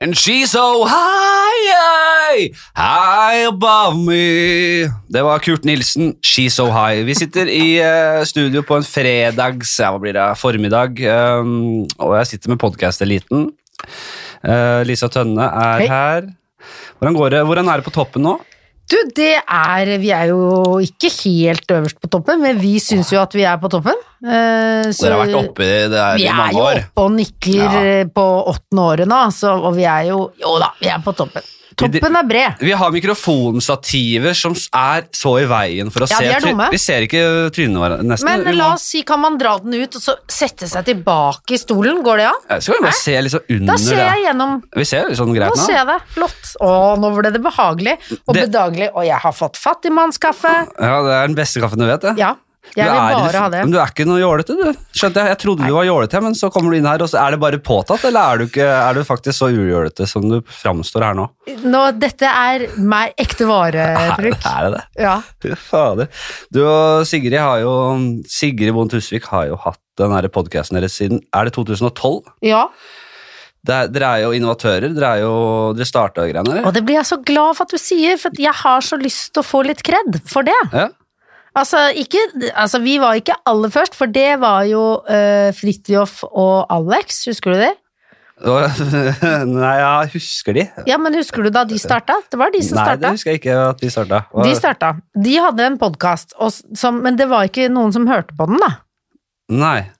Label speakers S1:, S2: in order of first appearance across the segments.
S1: And she's so high, high, high above me. Det var Kurt Nilsen, She's so high. Vi sitter i eh, studio på en fredags ja, hva blir det, formiddag, um, og jeg sitter med podkast-eliten. Eh, Lisa Tønne er
S2: Hei.
S1: her. Hvordan går det? Hvordan er det på toppen nå?
S2: Du, det er Vi er jo ikke helt øverst på toppen, men vi syns jo at vi er på toppen. Eh, så-
S1: Dere har vært oppe i det her
S2: vi
S1: i
S2: er
S1: mange
S2: jo
S1: år.
S2: oppe og nikker
S1: Ja.
S2: eh, på åttende året nå, så, og vi er jo Jo da, vi er på toppen. Toppen er bred.
S1: Vi har mikrofonstativer som er så i veien for å
S2: Ja,
S1: se
S2: de er
S1: try-
S2: dumme.
S1: Vi ser ikke trynene våre, nesten.
S2: Men
S1: Vi må-
S2: la oss si, kan man dra den ut og så sette seg tilbake i stolen? Går det an?
S1: Ja, Skal vi bare se litt sånn under
S2: Da ser jeg gjennom.
S1: det? Vi ser litt sånn greit
S2: Nå
S1: nå.
S2: ser jeg det. Flott. Å, nå ble det behagelig og
S1: Det-
S2: bedagelig. Og jeg har fått fattigmannskaffe.
S1: Ja, det er den beste kaffen du vet, det.
S2: Ja,
S1: Du
S2: jeg vil
S1: er i
S2: bare ha det.
S1: Men du er ikke noe jålete, du. Skjønte jeg. Jeg trodde du var jålete, men så kommer du inn her, og så er det bare påtatt, eller er du, ikke, er du faktisk så ujålete som du framstår her nå?
S2: Nå, dette er meg ekte
S1: Er,
S2: varebruk.
S1: er det det?
S2: Ja.
S1: Fy fader. Du og Sigrid har jo Sigrid Bond Tusvik har jo hatt den her podkasten deres siden Er det 2012?
S2: ja.
S1: Det er, dere er jo innovatører. Dere, er jo, dere starta jo greiene,
S2: Og
S1: eller?
S2: det blir jeg så glad for at du sier, for at jeg har så lyst til å få litt kred for det.
S1: Ja.
S2: Altså, ikke, altså vi var ikke aller først, for det var jo uh, Fridtjof og Alex, husker du det?
S1: Og- Nei, jeg husker de.
S2: Ja, men husker du da de starta? Det var de som
S1: Nei, det
S2: starta.
S1: husker jeg ikke at de starta. Hva-
S2: De starta. De hadde en podkast, men det var ikke noen som hørte på den, da.
S1: Nei,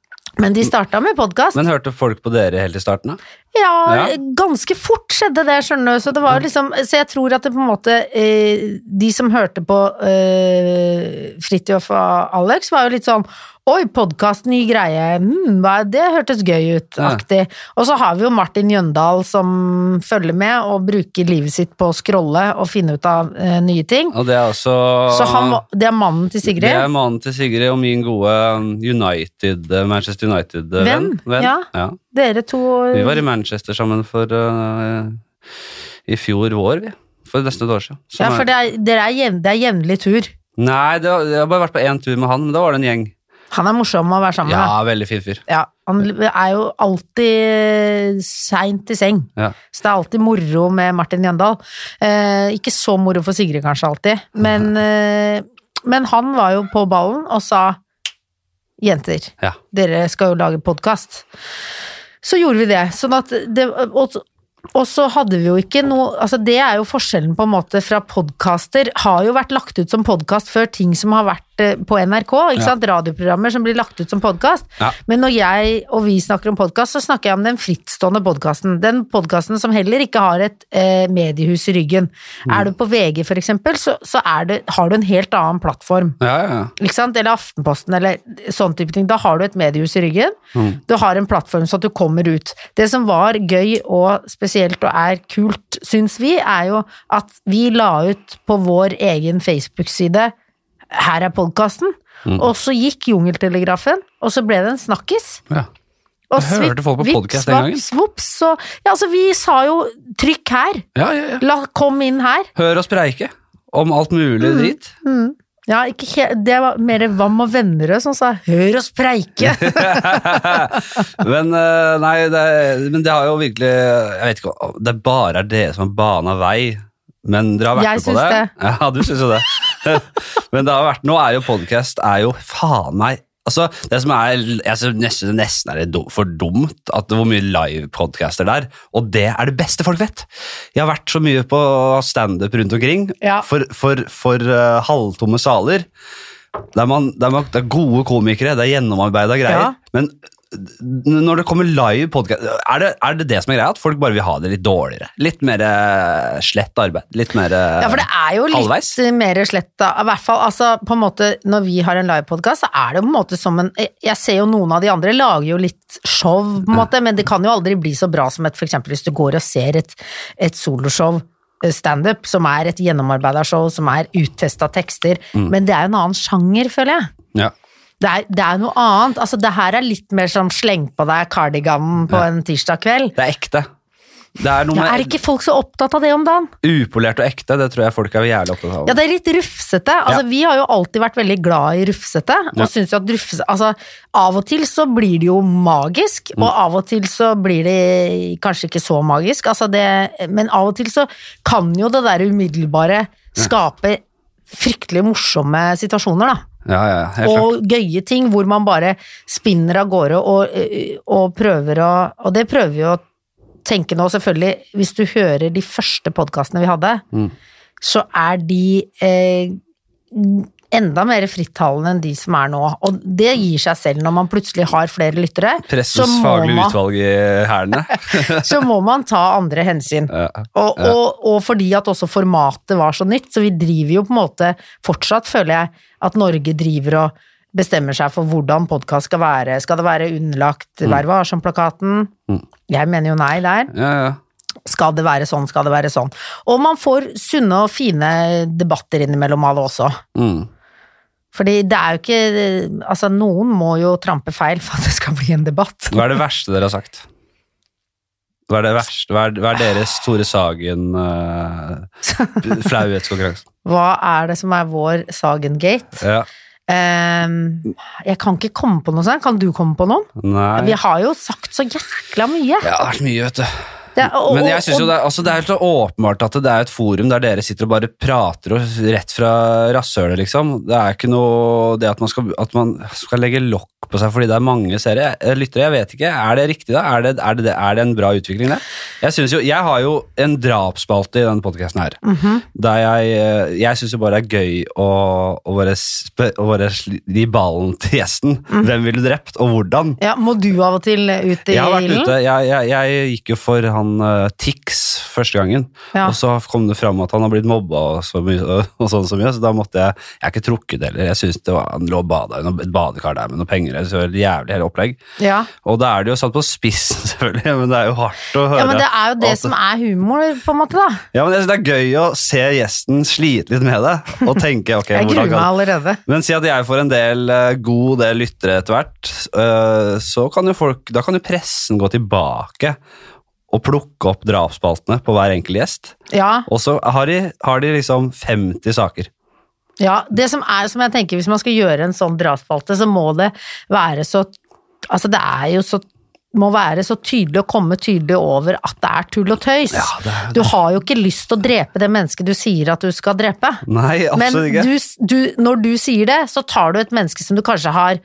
S2: Men de starta med podkast.
S1: men hørte folk på dere helt i starten, da?
S2: Ja,
S1: Ja.
S2: ganske fort skjedde det, skjønner du. Så, det var liksom, så jeg tror at det på en måte eh, De som hørte på eh, Fridtjof og Alex, var jo litt sånn Oi, podkast, ny greie. Mm, hva er det hørtes gøy ut.
S1: Ja.
S2: Aktig. Og så har vi jo Martin Jøndal som følger med og bruker livet sitt på å scrolle og finne ut av eh, nye ting.
S1: Og det er også
S2: Så han, var- det er mannen til Sigrid.
S1: Ah. Det er mannen til Sigrid og min gode um, United, eh, Manchester United-venn.
S2: Venn, ja. Dere to
S1: Vi var i Manchester sammen for øh, i fjor vår, vi. For nesten et år siden. Som
S2: Ja,
S1: er-
S2: for det er, dere er jevn, det er jevnlig tur.
S1: Nei, det, var- jeg har bare vært på én tur med han, men da var det en gjeng.
S2: Han er morsom å være sammen med.
S1: Ja, veldig fin fyr.
S2: Ja, han er jo alltid seint i seng.
S1: Ja.
S2: Så det er alltid moro med Martin Jøndal. Eh, ikke så moro for Sigrid kanskje alltid, men, eh, men han var jo på ballen og sa Jenter,
S1: Ja.
S2: dere skal jo lage podkast. Så gjorde vi det. Sånn at det og, og så hadde vi jo ikke noe altså Det er jo forskjellen på en måte fra podkaster. Har jo vært lagt ut som podkast før ting som har vært eh, på NRK. ikke
S1: Ja.
S2: sant, Radioprogrammer som blir lagt ut som podkast.
S1: Ja.
S2: Men når jeg og vi snakker om podkast, så snakker jeg om den frittstående podkasten. Den podkasten som heller ikke har et eh, mediehus i ryggen.
S1: Mm.
S2: Er du på VG, for eksempel, så, så er det, har du en helt annen plattform
S1: Ja, ja, ja.
S2: ikke sant? eller Aftenposten, eller sånn type ting. Da har du et mediehus i ryggen.
S1: Mm.
S2: Du har en plattform så at du kommer ut. Det som var gøy og spesielt og er kult, syns vi, er jo at vi la ut på vår egen Facebook-side 'Her er podkasten',
S1: Mm.
S2: og så gikk Jungeltelegrafen, og så ble det en snakkis.
S1: ja.
S2: Og
S1: Jeg hørte
S2: svipp-
S1: folk på
S2: vips,
S1: podcast den gangen.
S2: vaps, vops, så, ja, altså, vi sa jo 'trykk her',
S1: ja, ja, ja.
S2: la, kom inn her.
S1: Hør oss preike om alt mulig
S2: Mm.
S1: dritt.
S2: Ja, ikke he det var mer Vam og Vennerød som sa 'hør oss preike'.
S1: men, eh, nei, det, men det har jo virkelig Jeg vet ikke om det bare er dere som har bana vei, men dere har vært
S2: Jeg
S1: med på
S2: syns
S1: det.
S2: det.
S1: Ja, du syns jo det. men det har vært, nå er jo podkast er jo faen meg Altså, det som er, jeg synes nesten, nesten er det dum- for dumt at hvor mye livepodcaster det er, og det er det beste folk vet. Jeg har vært så mye på standup rundt omkring,
S2: Ja.
S1: for, for, for eh, halvtomme saler. Det er, man, det, er man, det er gode komikere, det er gjennomarbeida greier.
S2: Ja.
S1: Men n- når det kommer live podkast er, det- er det det som er greia? At folk bare vil ha det litt dårligere? Litt mer eh, slett arbeid? Litt mer eh,
S2: Ja, for det er jo litt
S1: halvveis.
S2: mer slett, da. I hvert fall, altså, på en måte, når vi har en livepodkast, så er det jo på en måte som en eh, Jeg ser jo noen av de andre lager jo litt show, på en måte, men det kan jo aldri bli så bra som et For eksempel hvis du går og ser et, et soloshow, eh, standup, som er et gjennomarbeida show, som er uttesta tekster,
S1: Mm.
S2: men det er jo en annen sjanger, føler jeg.
S1: Ja.
S2: Det er, det er noe annet. Altså, det her er litt mer som sleng på deg kardiganen på en tirsdag kveld.
S1: Det er ekte. Det er noe
S2: Ja, er
S1: med
S2: ikke folk så opptatt av det om dagen?
S1: upolert og ekte. Det tror jeg folk er jævlig opptatt av.
S2: Ja, det er litt rufsete. Altså, Vi har jo alltid vært veldig glad i rufsete. Og
S1: Ja.
S2: synes jo at rufse, altså, Av og til så blir det jo magisk,
S1: Mm.
S2: og av og til så blir det kanskje ikke så magisk. Altså det, men av og til så kan jo det der umiddelbare skape fryktelig morsomme situasjoner, da.
S1: ja, ja, ja, helt klart.
S2: Og gøye ting hvor man bare spinner av gårde og, eh, og prøver å Og det prøver vi å tenke nå, selvfølgelig. Hvis du hører de første podkastene vi hadde,
S1: Mm.
S2: så er de eh, enda mer frittalende enn de som er nå. Og det gir seg selv når man plutselig har flere lyttere. Så
S1: Pressens
S2: må,
S1: faglige
S2: man,
S1: utvalg i hælene.
S2: så må man ta andre hensyn.
S1: Ja.
S2: Og, og, og fordi at også formatet var så nytt, så vi driver jo på en måte fortsatt, føler jeg, at Norge driver og bestemmer seg for hvordan podkast skal være. Skal det være underlagt Vær varsom-plakaten? Jeg mener jo nei der.
S1: Ja, ja.
S2: Skal det være sånn, skal det være sånn. Og man får sunne og fine debatter innimellom alle også.
S1: Mm.
S2: Fordi det er jo ikke Altså, noen må jo trampe feil for at det skal bli en debatt.
S1: Hva er det verste dere har sagt? Hva er, det verste? Hva er, hva er deres Tore Sagen eh, flauhetskonkurranse?
S2: Hva er det som er vår Sagen-gate?
S1: Ja.
S2: Ehm, jeg kan ikke komme på noe sånt. Kan du komme på noen? Vi
S1: Nei.
S2: har jo sagt så jækla mye.
S1: Ja, det har vært mye, vet du.
S2: Det er- og-
S1: Men jeg
S2: og-
S1: synes jo det, er- altså det er helt så åpenbart at det er et forum der dere sitter og bare prater og rett fra rasshølet, liksom. Det er ikke noe det at man skal, at man skal legge lokk på seg fordi det er mange seere. Eh, Lyttere, jeg vet ikke. Er det riktig, da? Er det, er det, er det en bra utvikling, det? Jeg, synes jo, jeg har jo en drapsspalte i denne podkasten her.
S2: Mhm.
S1: Der jeg eh, jeg syns jo bare det er gøy å, å, bare, sp- å bare sli- gi ballen til gjesten.
S2: Mhm.
S1: Hvem ville du drept, og hvordan?
S2: ja, må du av og til ut i
S1: Jeg har vært
S2: ilden?
S1: ute, jeg, jeg, jeg gikk jo for han eh, Tix første gangen,
S2: Ja.
S1: og så kom det fram at han har blitt mobba og, så mye, og, sånn så mye, så da måtte jeg, jeg har ikke trukket det heller, jeg synes det var, han lå og bada i noe- et badekar der med noen penger, så det var et jævlig hele opplegg.
S2: Ja.
S1: Og da er det jo satt på spissen selvfølgelig, men det er jo hardt å høre.
S2: ja, men det er jo det
S1: at-
S2: som er humor, på en måte, da.
S1: Ja, men jeg synes det er gøy å se gjesten slite litt med det, og tenke, ok,
S2: Jeg gruer
S1: hvordan
S2: meg
S1: kan...
S2: allerede.
S1: Men si at jeg får en del eh, god del lyttere etter hvert, eh, så kan jo folk, da kan jo pressen gå tilbake og plukke opp drapsspaltene på hver enkelt gjest.
S2: Ja,
S1: Og så har de, har de liksom 50 saker.
S2: ja. Det som er, som jeg tenker, hvis man skal gjøre en sånn drapsspalte, så må det være så Altså, det er jo så må være så tydelig og komme tydelig over at det er tull og tøys.
S1: det er-
S2: Du har jo ikke lyst til å drepe det mennesket du sier at du skal drepe.
S1: Nei,
S2: Men
S1: absolutt ikke.
S2: du, du, når du sier det, så tar du et menneske som du kanskje har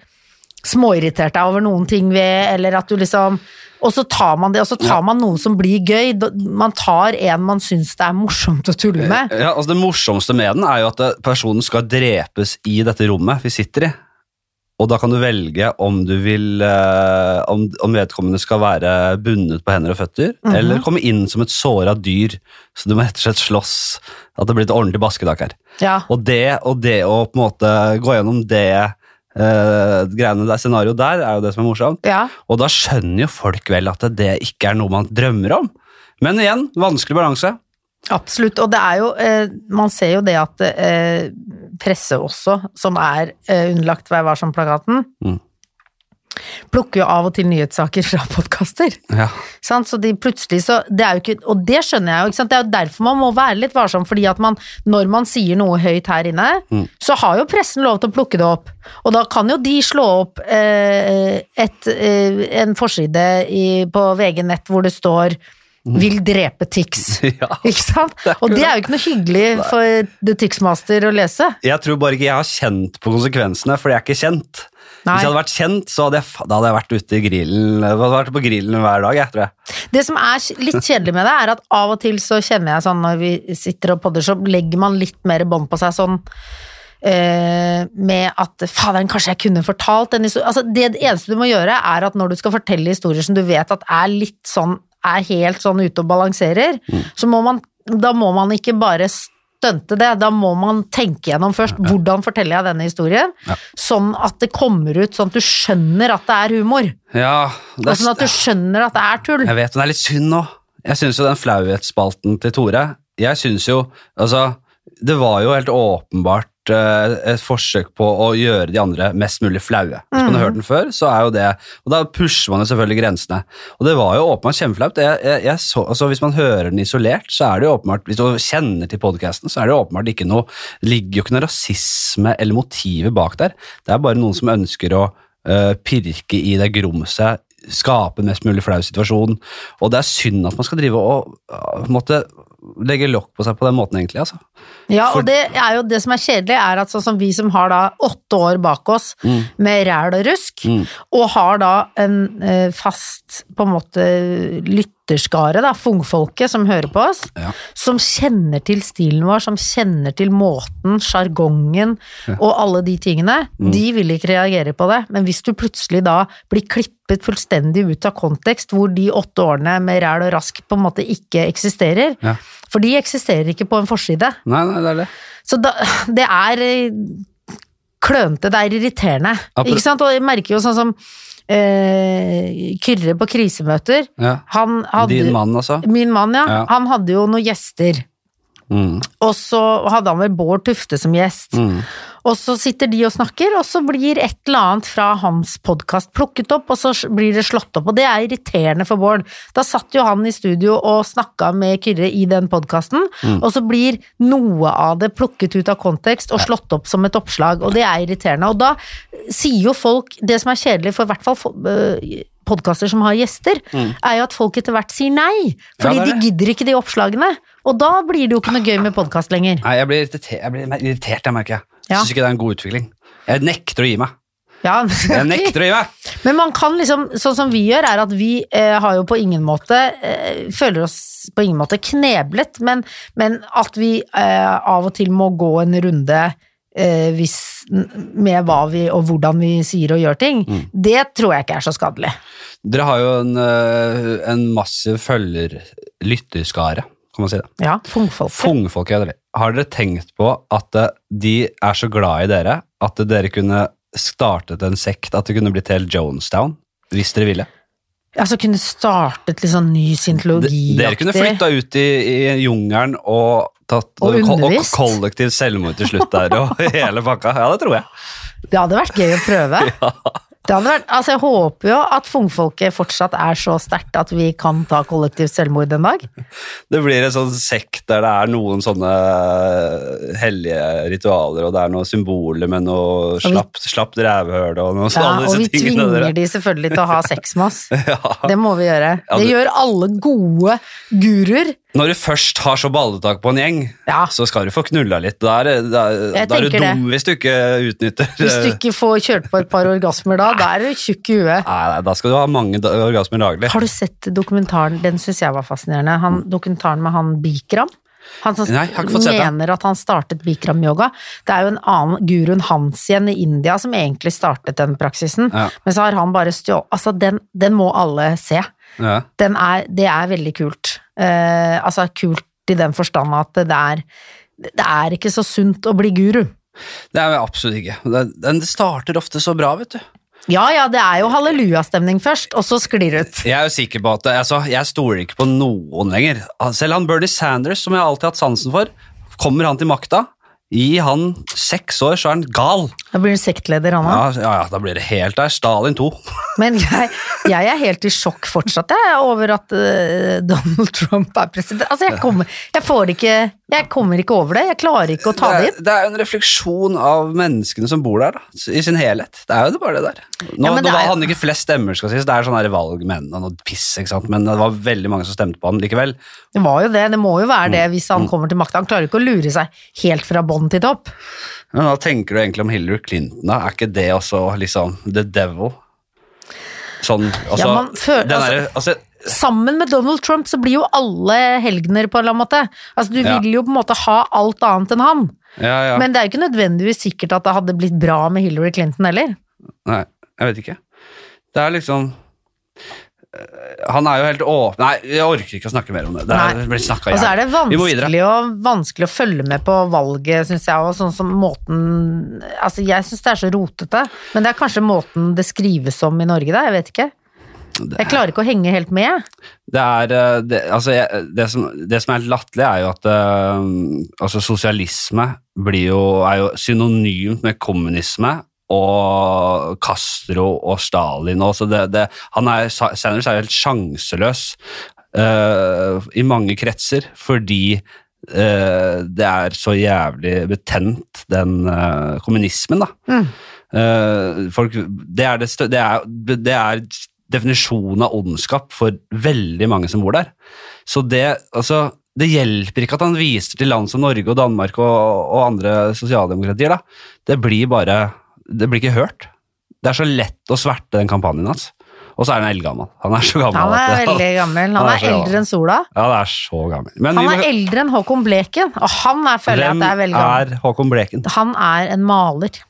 S2: småirritert deg over noen ting ved, eller at du liksom Og så tar man det, og så tar man noe som blir gøy. Da- Man tar en man syns det er morsomt å tulle med.
S1: Ja, altså det morsomste med den er jo at eh, personen skal drepes i dette rommet vi sitter i. Og da kan du velge om du vil eh, om, om vedkommende skal være bundet på hender og føtter, eller komme inn som et såra dyr, så du må rett og slett slåss. At det blir et ordentlig basketak her.
S2: Ja.
S1: eh, Og det, og det å på en måte gå gjennom det eh, greiene der, scenarioet der, er jo det som er morsomt.
S2: ja.
S1: Og da skjønner jo folk vel at det ikke er noe man drømmer om. Men igjen, vanskelig balanse.
S2: Absolutt, og det er jo eh, Man ser jo det at eh, presse også, som er eh, underlagt Vær varsom-plakaten,
S1: Mm.
S2: plukker jo av og til nyhetssaker fra podkaster.
S1: Ja.
S2: Sant? Så de plutselig så det er jo ikke, Og det skjønner jeg jo, ikke sant? det er jo derfor man må være litt varsom. fordi at man, når man sier noe høyt her inne, så har jo pressen lov til å plukke det opp. Og da kan jo de slå opp eh, et, eh, en forside i, på VG nett hvor det står 'Vil drepe Tix'.
S1: ja.
S2: Ikke sant? Og Mm. det er jo ikke noe hyggelig for The Tixmaster å lese.
S1: Jeg tror bare ikke jeg har kjent på konsekvensene, for jeg er ikke kjent.
S2: Nei.
S1: Hvis jeg hadde vært kjent, så hadde jeg, fa- da hadde jeg vært ute i grillen, jeg hadde vært på grillen hver dag, jeg tror jeg.
S2: Det som er litt kjedelig med det, er at av og til så kjenner jeg sånn når vi sitter og podder, så legger man litt mer bånd på seg sånn eh, med at faderen, kanskje jeg kunne fortalt en historie altså, det, det eneste du må gjøre, er at når du skal fortelle historier som du vet at er litt sånn er helt sånn ute og balanserer, så må man da må man ikke bare stunte det, da må man tenke gjennom først hvordan forteller jeg denne historien, sånn at det kommer ut sånn at du skjønner at det er humor,
S1: Ja, det
S2: og sånn at du skjønner at det er tull.
S1: Jeg vet, men det er litt synd nå. Jeg syns jo den flauhetsspalten til Tore Jeg syns jo Altså, det var jo helt åpenbart eh, et forsøk på å gjøre de andre mest mulig flaue. Hvis man har hørt den før, så er jo det Og da pusher man jo selvfølgelig grensene. Og det var jo åpenbart kjempeflaut. Jeg, jeg, jeg så, altså hvis man hører den isolert, så er det jo åpenbart Hvis du kjenner til podkasten, så er det jo åpenbart ikke noe Det ligger jo ikke noe rasisme eller motiver bak der. Det er bare noen som ønsker å eh, pirke i det grumset, skape en mest mulig flau situasjon. Og det er synd at man skal drive og eh, på en måte legge lokk på seg på den måten, egentlig. altså.
S2: Ja,
S1: For-
S2: og det er jo det som er kjedelig, er at sånn som vi som har da åtte år bak oss
S1: Mm.
S2: med ræl og rusk,
S1: Mm.
S2: og har da en eh, fast på en måte lytterskare, da, fungfolket som hører på oss,
S1: Ja.
S2: som kjenner til stilen vår, som kjenner til måten, sjargongen og alle de tingene,
S1: Mm.
S2: de vil ikke reagere på det. Men hvis du plutselig da blir klippet fullstendig ut av kontekst, hvor de åtte årene med ræl og rask på en måte ikke eksisterer,
S1: Ja.
S2: for de eksisterer ikke på en forside.
S1: Nei, nei, det er det.
S2: Så da, det er eh, klønete, det er irriterende.
S1: Appro-
S2: Ikke sant? Og jeg merker jo sånn som eh, Kyrre på krisemøter.
S1: Ja.
S2: Han hadde,
S1: Din mann, altså.
S2: Min mann, ja,
S1: Ja.
S2: Han hadde jo noen gjester.
S1: Mm.
S2: Og så hadde han vel Bård Tufte som gjest.
S1: Mm.
S2: Og så sitter de og snakker, og så blir et eller annet fra hans podkast plukket opp, og så blir det slått opp. Og det er irriterende for Bård. Da satt jo han i studio og snakka med Kyrre i den podkasten,
S1: Mm.
S2: og så blir noe av det plukket ut av kontekst og slått opp som et oppslag, og det er irriterende. Og da sier jo folk det som er kjedelig for i hvert fall fo- øh, podkaster som har gjester, er jo at folk etter hvert sier nei. Fordi
S1: Mm. det er
S2: de gidder ikke de oppslagene. Og da blir det jo ikke noe gøy med podkast lenger.
S1: Nei, jeg blir irritert, jeg, blir mer irritert, jeg merker jeg.
S2: Ja.
S1: Jeg syns ikke det er en god utvikling. Jeg nekter å gi meg.
S2: Ja,
S1: Jeg nekter å gi meg!
S2: Men man kan liksom, sånn som vi gjør, er at vi eh, har jo på ingen måte eh, Føler oss på ingen måte kneblet, men, men at vi eh, av og til må gå en runde eh, hvis, med hva vi og hvordan vi sier og gjør ting,
S1: Mm.
S2: det tror jeg ikke er så skadelig.
S1: Dere har jo en, øh, en massiv følger-lytterskare, kan man si det.
S2: Ja, fungfolk.
S1: Fungfolk er dere. Har dere tenkt på at eh, de er så glad i dere at dere kunne startet en sekt, at det kunne blitt helt Jonestown? Hvis dere ville.
S2: Altså kunne startet litt sånn ny
S1: De,
S2: syntologi
S1: dere kunne flytta ut i, i jungelen og tatt
S2: Og
S1: ko-
S2: undervist.
S1: kollektiv selvmord til slutt der og hele pakka. Ja, det tror jeg.
S2: Det hadde vært gøy å prøve. Det hadde vært, altså jeg håper jo at fungfolket fortsatt er så sterkt at vi kan ta kollektivt selvmord en dag.
S1: Det blir en sånn sekt der det er noen sånne eh, hellige ritualer, og det er noen symboler med noe
S2: vi-
S1: slapp, slapp drevehøl og noe
S2: Ja,
S1: sånn. alle
S2: og vi
S1: disse tingene
S2: tvinger
S1: der.
S2: de selvfølgelig til å ha sex med oss.
S1: Ja.
S2: Det må vi gjøre.
S1: Ja,
S2: Det
S1: du-
S2: gjør alle gode guruer.
S1: Når du først har så balletak på en gjeng,
S2: Ja.
S1: så skal du få knulla litt. Da er, det- da, er-
S2: Jeg
S1: da er du
S2: tenker det.
S1: dum hvis du ikke utnytter eh,
S2: Hvis du ikke får kjørt på et par orgasmer da, da er du tjukk i huet.
S1: Nei, nei, da skal du ha mange da- orgasmer daglig.
S2: Har du sett dokumentaren? Den syns jeg var fascinerende. Han, dokumentaren med han Bikram. Han som
S1: Mm. Nei, jeg har ikke fått sett den.
S2: mener at han startet bikram-yoga. Det er jo en annen guruen hans igjen i India som egentlig startet den praksisen.
S1: Ja.
S2: Men så har han bare stjålet Altså, den, den må alle se.
S1: Ja.
S2: den er, det er veldig kult. Eh, altså kult i den forstand at det er, det er ikke så sunt å bli guru.
S1: Det er jeg absolutt ikke. Det- Den starter ofte så bra, vet du.
S2: Ja ja, det er jo hallelujastemning først, og så sklir det ut.
S1: Jeg er jo sikker på at altså, Jeg stoler ikke på noen lenger. Ah, Selv han Bernie Sanders, som jeg alltid har hatt sansen for, kommer han til makta. Gi han seks år, så er han gal.
S2: Da blir du sektleder, Anna.
S1: Ja, ja, ja da blir det helt der. Stalin 2.
S2: Men jeg, jeg er helt i sjokk fortsatt jeg, over at eh, Donald Trump er president. Altså, jeg kommer, jeg, får ikke, jeg kommer ikke over det. Jeg klarer ikke å ta det
S1: er,
S2: inn.
S1: det er jo en refleksjon av menneskene som bor der, da, i sin helhet. Det er jo det bare det der. Nå,
S2: Ja, men
S1: nå
S2: det er-
S1: var han ikke flest stemmer, skal sies. Det er sånn her valg med henne og noe piss, ikke sant. Men det var veldig mange som stemte på han likevel.
S2: Det var jo det. Det må jo være det hvis han kommer til makta. Han klarer ikke å lure seg helt fra bånn til topp.
S1: Men hva tenker du egentlig om Hillary Clinton, da? Er ikke det også liksom the devil? Sånn, altså,
S2: Ja, man føler-
S1: den derre- altså,
S2: sammen med Donald Trump så blir jo alle helgener på en eller annen måte. Altså, du
S1: Ja.
S2: vil jo på en måte ha alt annet enn han.
S1: ja, ja.
S2: Men det er jo ikke nødvendigvis sikkert at det hadde blitt bra med Hillary Clinton heller.
S1: Nei, jeg vet ikke. Det er liksom Eh, Han er jo helt åpen Nei, jeg orker ikke å snakke mer om det. Det er,
S2: Nei.
S1: blir snakket
S2: Og så
S1: i
S2: er det
S1: hjel. Vi må videre.
S2: vanskelig, å- vanskelig å følge med på valget, syns jeg, og sånn som måten Altså, jeg syns det er så rotete, men det er kanskje måten det skrives om i Norge, da. Jeg vet ikke. Jeg klarer ikke å henge helt med.
S1: Det er eh, det, altså, jeg, det, som, det som er latterlig, er jo at eh, altså, sosialisme blir jo, er jo synonymt med kommunisme og Castro og Stalin. Og så det, det, han er, Sanders er jo helt sjanseløs eh, i mange kretser fordi eh, det er så jævlig betent, den eh, kommunismen, da.
S2: Mm.
S1: Eh, folk, det, er det, stø- det, er, det er definisjonen av ondskap for veldig mange som bor der. Så det, altså, det hjelper ikke at han viser til land som Norge og Danmark og, og andre sosialdemokratier. Da. Det blir bare Det blir ikke hørt. Det er så lett å sverte den kampanjen hans. Og så er han eldgammel. Han er så gammel.
S2: Han er
S1: at-
S2: veldig gammel.
S1: Han
S2: Han
S1: er
S2: er
S1: så gammel.
S2: eldre enn sola.
S1: Ja, det er så gammel. Men
S2: Han
S1: vi må-
S2: er eldre enn Håkon Bleken, og han er, føler jeg at
S1: hvem
S2: det er veldig gammel.
S1: er Håkon Bleken?
S2: Han er en maler.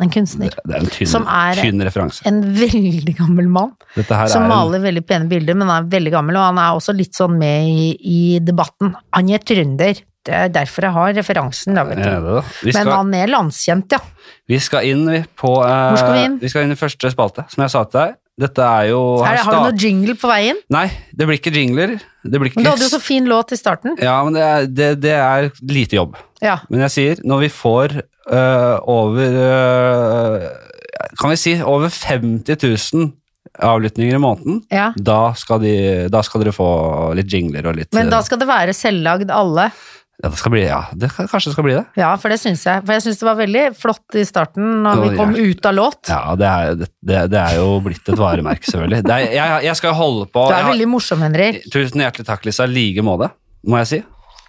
S2: En kunstner.
S1: Det er en tynn,
S2: Som er-
S1: tynn referanse.
S2: En veldig gammel mann
S1: Dette her
S2: som
S1: er en,
S2: maler veldig pene bilder, men er veldig gammel, og han er også litt sånn med i, i debatten. Han er trønder. Det er derfor jeg har referansen, da, vet
S1: Er det
S2: du.
S1: det? Vi
S2: Men
S1: skal-
S2: han er landskjent, ja.
S1: Vi skal inn vi, på eh,
S2: Hvor skal vi inn?
S1: skal inn i første spalte, som jeg sa til deg. Dette er jo
S2: Her,
S1: her
S2: har du
S1: sta-
S2: noe jingle på veien?
S1: Nei, det blir ikke jingler. Det blir ikke
S2: Men du hadde jo så fin låt i starten.
S1: Ja, men det er, det, det er lite jobb.
S2: Ja.
S1: Men jeg sier, når vi får eh, over eh, Kan vi si over 50 000 avlytninger i måneden,
S2: ja.
S1: da skal, de, da skal dere få litt jingler og litt
S2: Men da
S1: eh,
S2: skal det være selvlagd alle.
S1: ja, det skal bli, ja, det kan, kanskje det skal bli det.
S2: Ja, for det syns jeg. For jeg syns det var veldig flott i starten når
S1: Å,
S2: vi kom ut av låt.
S1: Ja, det er, det, det- det er jo blitt et varemerke, selvfølgelig. Det er, jeg, jeg skal holde på
S2: Du
S1: jeg
S2: er
S1: har-
S2: veldig morsom, Henrik.
S1: Tusen hjertelig takk, Lisa. I like måte, må jeg si.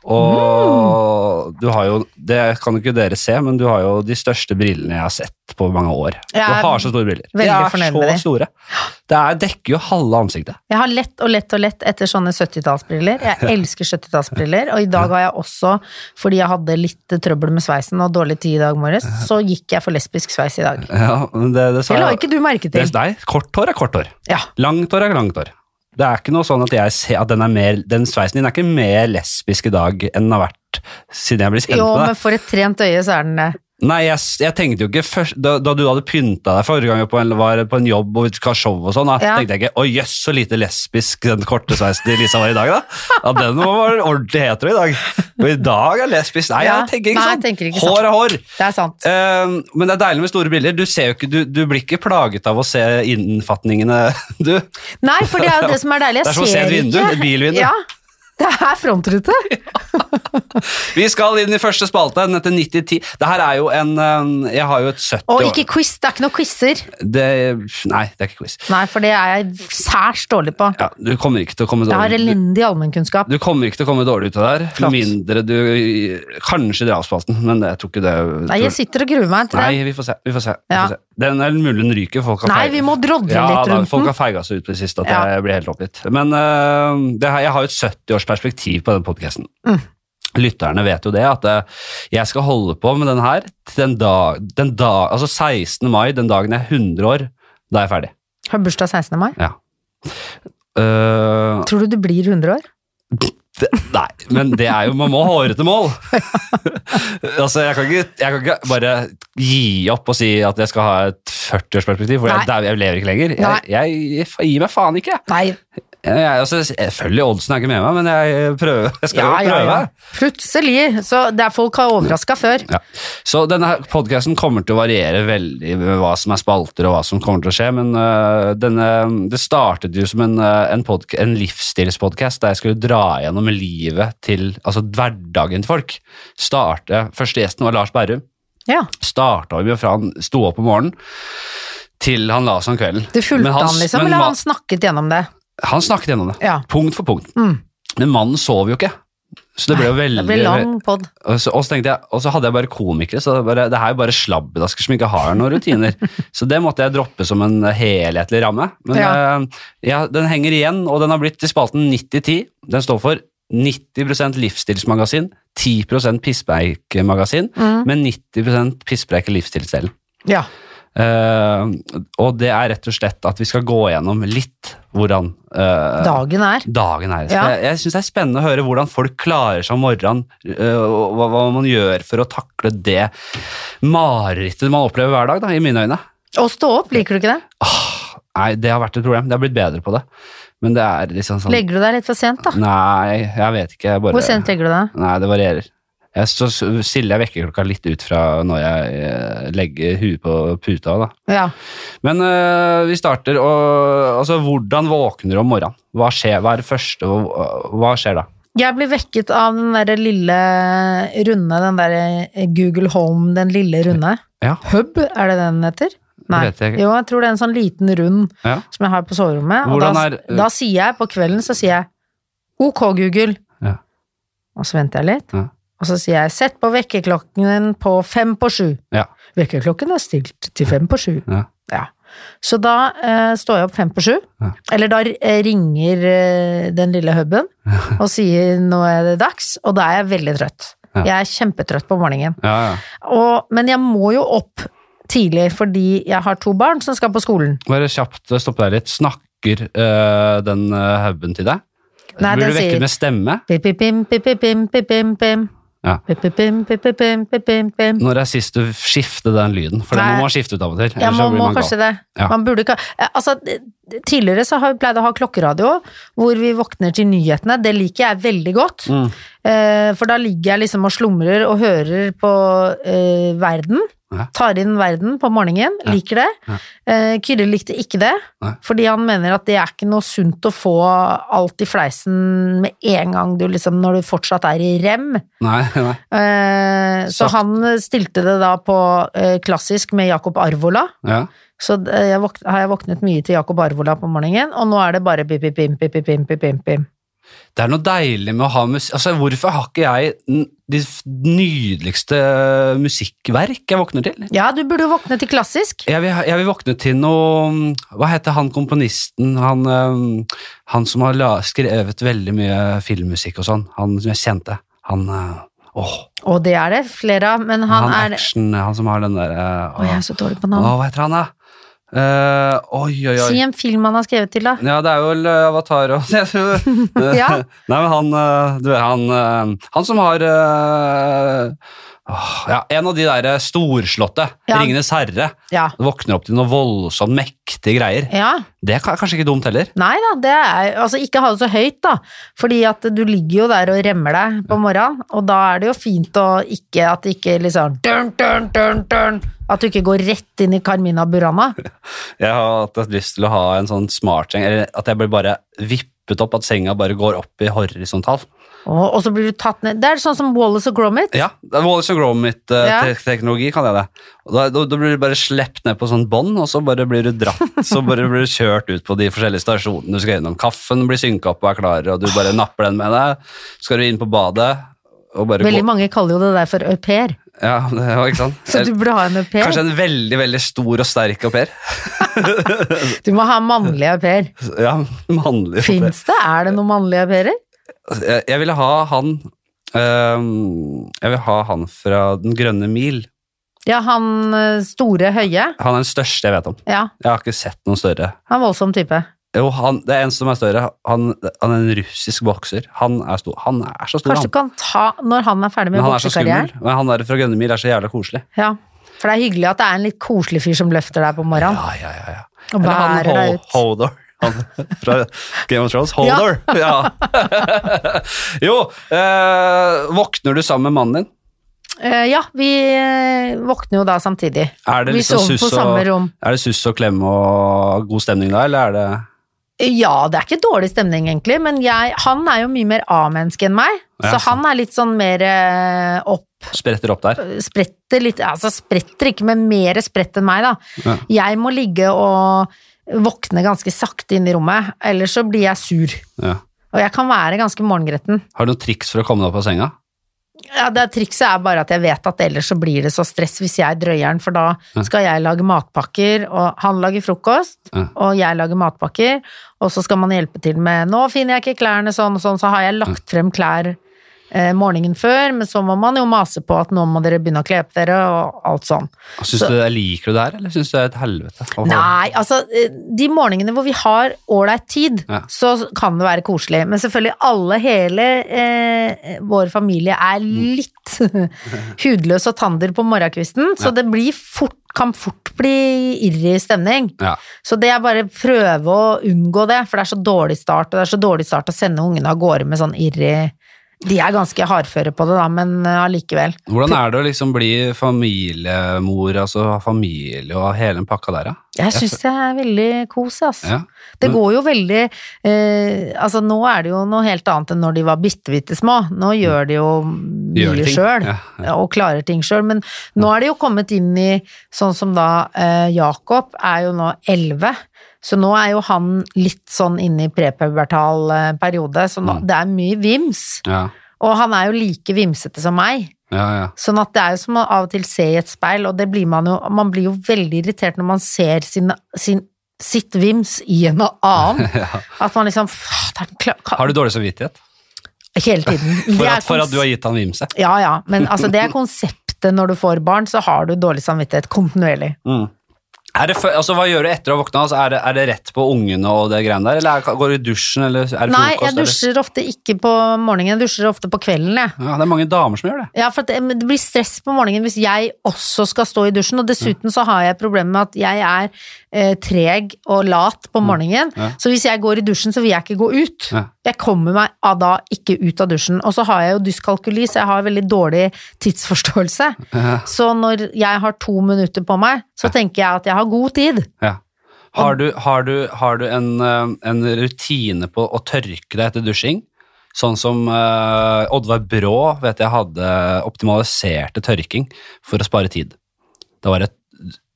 S1: Og du har jo Det kan jo ikke dere se, men du har jo de største brillene jeg har sett på mange år.
S2: Jeg er
S1: du har så store briller. De
S2: veldig
S1: er
S2: fornøyd
S1: så
S2: med de.
S1: store. Det er, dekker jo halve ansiktet.
S2: Jeg har lett og lett og lett etter sånne 70-tallsbriller. Jeg elsker 70-tallsbriller, og i dag har jeg også, fordi jeg hadde litt trøbbel med sveisen og dårlig tid i dag morges, så gikk jeg for lesbisk sveis i dag.
S1: Ja, men det, det sa
S2: Det la
S1: jeg-
S2: ikke du merke
S1: det,
S2: til.
S1: Nei, kort hår er kort hår.
S2: Ja.
S1: Langt hår er langt hår. Det er ikke noe sånn at jeg ser at den, er mer, den sveisen din er ikke mer lesbisk i dag enn den har vært siden jeg ble kjent
S2: Jo,
S1: med deg.
S2: men for et trent øye så er den det.
S1: Nei, jeg, jeg tenkte jo ikke først Da, da du hadde pynta deg forrige gang vi på en, var på en jobb og vi skulle ha show og sånn, da
S2: Ja.
S1: tenkte jeg ikke 'Å jøss, så lite lesbisk den korte sveisen til Lisa var i dag', da. Ja, den var ordentlig hetero i dag. Og i dag er lesbisk Nei,
S2: Ja.
S1: jeg tenker ikke
S2: Nei, jeg
S1: sånn.
S2: tenker ikke sånn.
S1: hår er hår.
S2: Det er sant.
S1: Eh, men det er deilig med store briller. Du, ser jo ikke, du, du blir ikke plaget av å se innfatningene, du.
S2: Nei, for det er jo det som er deilig.
S1: Det er som å
S2: Jeg
S1: se
S2: ser
S1: et vindu,
S2: ikke.
S1: et bilvindu.
S2: Ja. Det er frontrute.
S1: Vi skal inn i første spalte, den heter 9010. Det her er jo en eh, Jeg har jo et 70
S2: Og ikke quiz. Det er ikke noen quizer.
S1: det, Nei, det er ikke quiz.
S2: Nei, for det er jeg særs dårlig på.
S1: Ja, du kommer ikke til å komme
S2: Jeg har
S1: dårlig du-
S2: elendig allmennkunnskap.
S1: Du kommer ikke til å komme dårlig ut av det her,
S2: Flott.
S1: med mindre du kanskje drar av spalten, men jeg tror ikke det
S2: Nei, jeg sitter og gruer meg til det.
S1: Nei, vi får se. Vi får se, vi
S2: Ja.
S1: får se. Den er mulig den ryker. Folk har
S2: Nei,
S1: feig-
S2: vi må drodle
S1: ja,
S2: litt
S1: da,
S2: rundt
S1: Folk
S2: den.
S1: har feiga så ut på det siste at
S2: Ja.
S1: jeg blir helt oppgitt. Men øh, det her, jeg har jo et 70-årsperspektiv på den podkasten.
S2: Mm.
S1: Lytterne vet jo det, at øh, jeg skal holde på med den her til den dag, den dag, altså 16. mai, den dagen jeg er 100 år. Da er jeg ferdig.
S2: Har du bursdag 16. mai.
S1: Øh,
S2: Tror du du blir 100 år?
S1: Det, nei, men det er jo Man må ha hårete mål! altså, jeg kan, ikke, jeg kan ikke bare gi opp og si at jeg skal ha et 40-årsperspektiv, for jeg,
S2: Nei.
S1: dau- jeg lever ikke lenger.
S2: Nei.
S1: Jeg, jeg, jeg gir meg faen ikke, jeg.
S2: Nei.
S1: jeg altså, selvfølgelig, oddsen er ikke med meg, men jeg prøver. Jeg skal
S2: Ja,
S1: jo
S2: ja,
S1: prøve.
S2: ja. Plutselig. Så det er folk har overraska før.
S1: Ja. Så denne her podcasten kommer til å variere veldig med hva som er spalter og hva som kommer til å skje, men øh, denne, det startet jo som en, øh, en, podca- en livsstilspodcast der jeg skulle dra gjennom livet til, altså hverdagen til folk. Starte, første gjesten var Lars Berrum.
S2: Ja.
S1: Starta vi med fra han sto opp om morgenen til han la seg om kvelden.
S2: Du fulgte
S1: Men
S2: han,
S1: han-
S2: liksom,
S1: men
S2: eller
S1: ma-
S2: han snakket gjennom det?
S1: Han snakket gjennom det,
S2: Ja.
S1: punkt for punkt.
S2: Mm.
S1: Men mannen sov jo ikke. Så det ble jo veldig
S2: Det blir lang pod.
S1: Og så, og så tenkte jeg, og så hadde jeg bare komikere, så det, bare, det her er jo bare slabbedasker som ikke har noen rutiner. så det måtte jeg droppe som en helhetlig ramme. Men
S2: Ja.
S1: eh, ja, den henger igjen, og den har blitt til spalten 90-10. Den står for 90 livsstilsmagasin, 10 pisspreikmagasin,
S2: Mm.
S1: men 90 pisspreik i livsstilsdelen.
S2: Ja.
S1: Eh, og det er rett og slett at vi skal gå gjennom litt hvordan eh,
S2: Dagen er.
S1: dagen er. Så
S2: Ja.
S1: Jeg, jeg syns det er spennende å høre hvordan folk klarer seg om morgenen, øh, og hva, hva man gjør for å takle det marerittet man opplever hver dag, da, i mine øyne.
S2: Å stå opp, liker du ikke det?
S1: Nei, det har vært et problem. Det har blitt bedre på det. Men det er liksom sånn
S2: Legger du deg litt for sent, da?
S1: Nei, jeg vet ikke. Jeg bare,
S2: Hvor sent legger du deg?
S1: Nei, det varierer. Jeg, så stiller jeg vekkerklokka litt ut fra når jeg eh, legger huet på puta. da.
S2: Ja.
S1: Men øh, vi starter, og altså, hvordan våkner du om morgenen? Hva skjer, hva er det første, og, øh, hva skjer da?
S2: Jeg blir vekket av den derre lille runde, den derre Google Home, den lille runde.
S1: Ja.
S2: Hub, er det den heter? Nei.
S1: vet jeg ikke.
S2: Jo, jeg tror det er en sånn liten rund
S1: Ja.
S2: som jeg har på soverommet. Og
S1: Hvordan
S2: da,
S1: er- eh,
S2: da sier jeg på kvelden, så sier jeg OK, Google.
S1: Ja.
S2: Og så venter jeg litt.
S1: Ja.
S2: Og så sier jeg sett på vekkerklokken på fem på sju.
S1: Ja.
S2: Vekkerklokken er stilt til fem på sju.
S1: Ja.
S2: Ja. Så da eh, står jeg opp fem på sju.
S1: Ja.
S2: Eller da eh, ringer eh, den lille huben og sier nå er det dags, og da er jeg veldig trøtt.
S1: Ja.
S2: Jeg er kjempetrøtt på morgenen.
S1: Ja, ja.
S2: Og, men jeg må jo opp tidlig fordi jeg har to barn som skal på skolen.
S1: Bare kjapt øh, stoppe deg litt. Snakker øh, den øh, hubben til deg?
S2: Nei,
S1: Blir du
S2: den
S1: vekket
S2: sier-
S1: med stemme?
S2: Pim-pim-pim, pim-pim-pim, pim-pim-pim.
S1: Ja.
S2: Pim-pim-pim, pim-pim-pim, pim-pim-pim.
S1: Når er sist du skiftet den lyden? For den
S2: Nei.
S1: må man skifte ut av og til.
S2: Ja,
S1: ellers så
S2: man
S1: blir
S2: må
S1: man gal.
S2: kanskje det.
S1: Ja.
S2: Man burde ikke eh, Altså, d- d- tidligere så har vi pleid å ha klokkeradio, hvor vi våkner til nyhetene. Det liker jeg veldig godt.
S1: Mm.
S2: Eh, For da ligger jeg liksom og slumrer og hører på eh, verden.
S1: Ja.
S2: Tar inn verden på morgenen. Liker det.
S1: Ja.
S2: Eh, Kyrre likte ikke det,
S1: Nei.
S2: fordi han mener at det er ikke noe sunt å få alt i fleisen med en gang du liksom, når du fortsatt er i rem.
S1: Nei, nei.
S2: Eh, Så
S1: Sagt.
S2: han stilte det da på eh, klassisk med Jakob Arvola.
S1: Ja.
S2: Så d- jeg våk har jeg våknet mye til Jakob Arvola på morgenen, og nå er det bare pip, pip, pim, pip, pip, pim, pip, pim, pim.
S1: Det er noe deilig med å ha musikk Altså, hvorfor har ikke jeg n- de f- nydeligste musikkverk jeg våkner til?
S2: Ja, du burde jo våkne til klassisk.
S1: Jeg vil, jeg vil våkne til noe mm, Hva heter han komponisten? Han, øhm, han som har la, skrevet veldig mye filmmusikk og sånn. Han som jeg kjente. Han øh, Åh,
S2: Og det er det flere av, men
S1: han,
S2: han er
S1: action Han som har den derre
S2: Å, jeg er så dårlig på navn.
S1: Hva heter han, da? Eh, oi, oi, oi.
S2: Si en film han har skrevet til, da.
S1: Ja, det er vel eh, Avatar og jeg tror-
S2: Ja.
S1: Nei, men han eh, Du vet, han eh, Han som har eh, åh, Ja, en av de derre storslåtte.
S2: Ja.
S1: Ringenes herre.
S2: Ja.
S1: Våkner opp til noe voldsomt mektige greier.
S2: ja.
S1: Det er ka- kanskje ikke dumt heller.
S2: Nei da, det er Altså, ikke ha det så høyt, da. Fordi at du ligger jo der og remmer deg på morgenen, og da er det jo fint å ikke At det ikke liksom dun, dun, dun, dun, At du ikke går rett inn i Carmina Burana.
S1: Jeg har hatt lyst til å ha en sånn smartseng, eller at jeg blir bare vippet opp, at senga bare går opp i horisontal.
S2: Og, og så blir du tatt ned Det er sånn som Wallace og Gromit.
S1: Ja, det er Wallace og
S2: Ja.
S1: Gromit-teknologi, kan jeg det. Og Da, da, da blir du bare slept ned på sånn bånd, og så bare blir du dratt. Så bare blir du kjørt ut på de forskjellige stasjonene du skal gjennom. Kaffen blir synka opp og er klar, og du bare napper den med deg. Så skal du inn på badet og bare
S2: Veldig
S1: gå
S2: mange kaller jo det der for au pair,
S1: Ja, det, ja, ikke sant?
S2: så du burde ha en au pair.
S1: Kanskje en veldig, veldig stor og sterk au pair.
S2: Du må ha mannlig au pair.
S1: Ja, mannlig au pair. Altså,
S2: Fins det? Er det noen mannlige au pairer?
S1: Jeg, jeg ville ha han øhm, Jeg vil ha han fra Den grønne mil.
S2: Ja, han eh, store høye.
S1: Han er den største jeg vet om.
S2: Ja,
S1: Jeg har ikke sett noen større.
S2: han er voldsom type.
S1: Jo, han, det er en som er større. Han, han er en russisk bokser. Han er, stor. Han er så stor,
S2: Kanskje du
S1: han.
S2: kan ta når han er ferdig
S1: Men
S2: med
S1: han er så skummel.
S2: boksekarrieren.
S1: Men han der fra Grønnemil er så jævla koselig.
S2: Ja. For det er hyggelig at det er en litt koselig fyr som løfter deg på morgenen
S1: Ja, ja, ja. ja.
S2: og
S1: Eller han
S2: bærer deg
S1: Hol-
S2: ut.
S1: Hodor. Han fra Game of Thrones. Hodor! Ja. jo, eh, våkner du sammen med mannen din?
S2: Eh, ja, vi eh, våkner jo da samtidig.
S1: Er det
S2: Vi
S1: liksom
S2: sover på
S1: suss
S2: samme
S1: og,
S2: rom.
S1: er det suss og klem og god stemning da, eller er det
S2: Eh, Ja, det er ikke dårlig stemning egentlig, men jeg, han er jo mye mer A-menneske enn meg.
S1: Ja,
S2: så
S1: sant.
S2: han er litt sånn mer eh, opp,
S1: spretter opp der?
S2: spretter litt, altså spretter ikke, men mer spredt enn meg da.
S1: Ja.
S2: Jeg må ligge og våkne ganske sakte inn i rommet, ellers så blir jeg sur.
S1: Ja.
S2: Og jeg kan være ganske morgengretten.
S1: Har du noen triks for å komme deg opp av senga?
S2: Ja, det trikset er bare at jeg vet at ellers så blir det så stress hvis jeg drøyer den, for da skal jeg lage matpakker, og han lager frokost,
S1: Ja.
S2: og jeg lager matpakker, og så skal man hjelpe til med 'nå finner jeg ikke klærne', sånn og sånn, så har jeg lagt frem klær eh, morgenen før, men så må man jo mase på at nå må dere begynne å kle på dere, og alt sånn.
S1: Syns du det liker du det her, eller syns du det er et helvete? å holde-
S2: Nei, altså eh, de morgenene hvor vi har ålreit tid,
S1: Ja.
S2: så kan det være koselig. Men selvfølgelig alle, hele eh, vår familie er
S1: Mm.
S2: litt hudløs og tander på morgenkvisten, så
S1: Ja.
S2: det blir fort, kan fort bli irrig stemning.
S1: Ja.
S2: Så det er bare prøve å unngå det, for det er så dårlig start, og det er så dårlig start å sende ungene av gårde med sånn irrig De er ganske hardføre på det, da, men eh, allikevel.
S1: Hvordan er det å liksom bli familiemor, altså ha familie og hele den pakka der, da?
S2: Jeg syns det er veldig kos, ass.
S1: Ja.
S2: Det
S1: Men-
S2: går jo veldig eh, Altså, nå er det jo noe helt annet enn når de var bitte, bitte små. Nå gjør de jo
S1: Mm. Gjør
S2: mye
S1: ting.
S2: sjøl,
S1: Ja,
S2: og klarer ting sjøl. Men nå er det jo kommet inn i sånn som da eh, Jakob er jo nå elleve. Så nå er jo han litt sånn inne i prepubertal eh, periode, så nå,
S1: Mm.
S2: det er mye vims.
S1: Ja,
S2: Og han er jo like vimsete som meg.
S1: ja, ja.
S2: Sånn at det er jo som å av og til se i et speil, og det blir man jo Man blir jo veldig irritert når man ser sin, sin, sitt vims i en annen.
S1: Ja.
S2: At man liksom Fader'n, kla- ka-
S1: Har du dårlig samvittighet
S2: Hele tiden.
S1: for
S2: Det er
S1: at, for at
S2: kons-
S1: du har gitt han vimse?
S2: Ja, ja. Men altså, det er konseptet når du får barn, så har du dårlig samvittighet kontinuerlig.
S1: Er det, fø- altså, hva gjør du etter å ha våkna? Altså, er, det- er det rett på ungene og det greiene der, eller er, går du i dusjen, eller er det
S2: Nei,
S1: frokost?
S2: jeg dusjer ofte ikke på morgenen, jeg dusjer ofte på kvelden, jeg.
S1: Eller? Ja, det er mange damer som gjør det.
S2: Ja, for at det, men det blir stress på morgenen hvis jeg også skal stå i dusjen, og dessuten
S1: Mm.
S2: så har jeg problemer med at jeg er eh, treg og lat på morgenen,
S1: Mm. Ja.
S2: så hvis jeg går i dusjen, så vil jeg ikke gå ut.
S1: Ja.
S2: Jeg kommer meg av da ikke ut av dusjen, og så har jeg jo dyskalkuli, så jeg har veldig dårlig tidsforståelse.
S1: Ja.
S2: Så når jeg har to minutter på meg, så tenker jeg at jeg har god tid.
S1: Ja. Har du, har du, har du en, eh, en rutine på å tørke deg etter dusjing? Sånn som eh, Oddvar Brå vet jeg hadde optimaliserte tørking for å spare tid. Det var et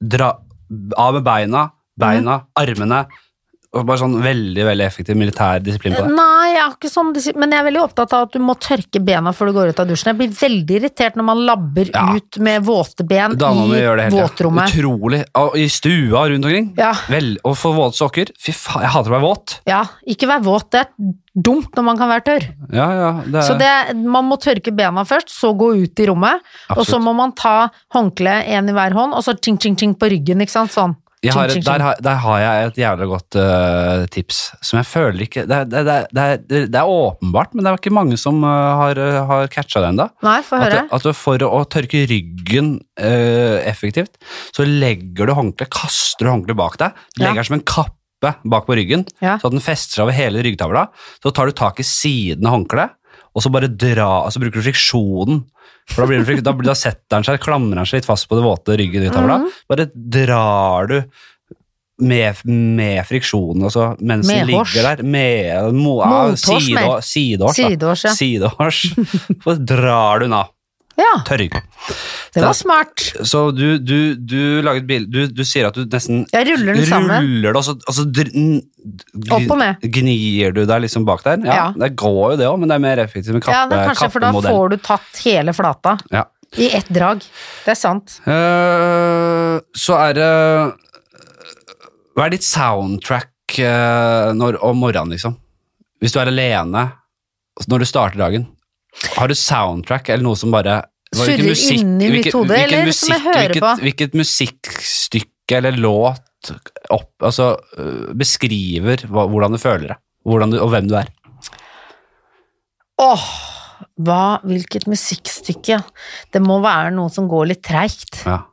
S1: dra, av med beina, beina,
S2: Mhm.
S1: armene. Og bare sånn veldig veldig effektiv militær disiplin på det.
S2: Nei, jeg har ikke sånn, disi- men jeg er veldig opptatt av at du må tørke bena før du går ut av dusjen. Jeg blir veldig irritert når man labber
S1: Ja.
S2: ut med våte ben
S1: Dama mi
S2: i
S1: gjør det hele tiden.
S2: våtrommet.
S1: Utrolig. Og I stua rundt omkring.
S2: Ja.
S1: Vel, og for våte sokker. Fy faen, jeg hater å være våt.
S2: Ja, ikke vær våt. Det er dumt når man kan være tørr.
S1: Ja, ja, det
S2: Så det, man må tørke bena først, så gå ut i rommet. Og så
S1: Absolutt.
S2: må man ta håndkleet én i hver hånd, og så ting, ting, ting på ryggen. ikke sant? Sånn.
S1: Jeg har,
S2: Ching, ching,
S1: der,
S2: ching.
S1: har, der har jeg et jævla godt øh, tips, som jeg føler ikke Det, er- det, er- det, er- det, er- det er åpenbart, men det er ikke mange som øh, har, øh, har catcha det ennå.
S2: Nei, få
S1: At,
S2: høre.
S1: du- at du for å tørke ryggen øh, effektivt, så legger du håndkleet, kaster du håndkleet bak deg,
S2: Ja.
S1: legger det som en kappe bak på ryggen,
S2: Ja.
S1: så at den fester over hele ryggtavla. Så tar du tak i siden av håndkleet, og så bare dra, og så bruker du friksjonen. For da, blir det, frik- da, blir- da setter den seg, klamrer den seg litt fast på det våte ryggen i ryggtavla.
S2: Mhm.
S1: Bare drar du med, med friksjonen, altså, mens den
S2: Medhårs.
S1: ligger der. Med, mo, ja,
S2: Mothårs
S1: side-
S2: mer.
S1: sidehårs. da.
S2: Sidehårs, ja.
S1: Sidehårs. Så drar du den av.
S2: Ja,
S1: Tørrygg.
S2: det var smart.
S1: Så du, du, du lager et bilde du, du sier at du nesten
S2: Jeg ruller den sammen.
S1: ruller det, og så, og så dr- n- gni-
S2: Opp og ned.
S1: Gnir du deg liksom bak der? Ja,
S2: Ja.
S1: Det går jo det òg, men det er mer effektivt med kappe,
S2: Ja, det er kanskje, for da
S1: kappemodell.
S2: får du tatt hele flata
S1: Ja.
S2: i ett drag. Det er sant.
S1: Eh, så er det eh, Hva er ditt soundtrack eh, når, om morgenen, liksom? Hvis du er alene, når du starter dagen, har du soundtrack eller noe som bare hva- hvilken
S2: Surrer
S1: musikk-
S2: inn i mitt
S1: hvilken-
S2: hode,
S1: hvilken
S2: eller som jeg
S1: musikk-
S2: hører
S1: hvilket,
S2: på?
S1: Hvilket musikkstykke eller låt opp, altså, øh, beskriver hva, hvordan du føler deg, hvordan du, og hvem du er?
S2: Åh, hva, hvilket musikkstykke. Det må være noe som går litt treigt.
S1: Ja.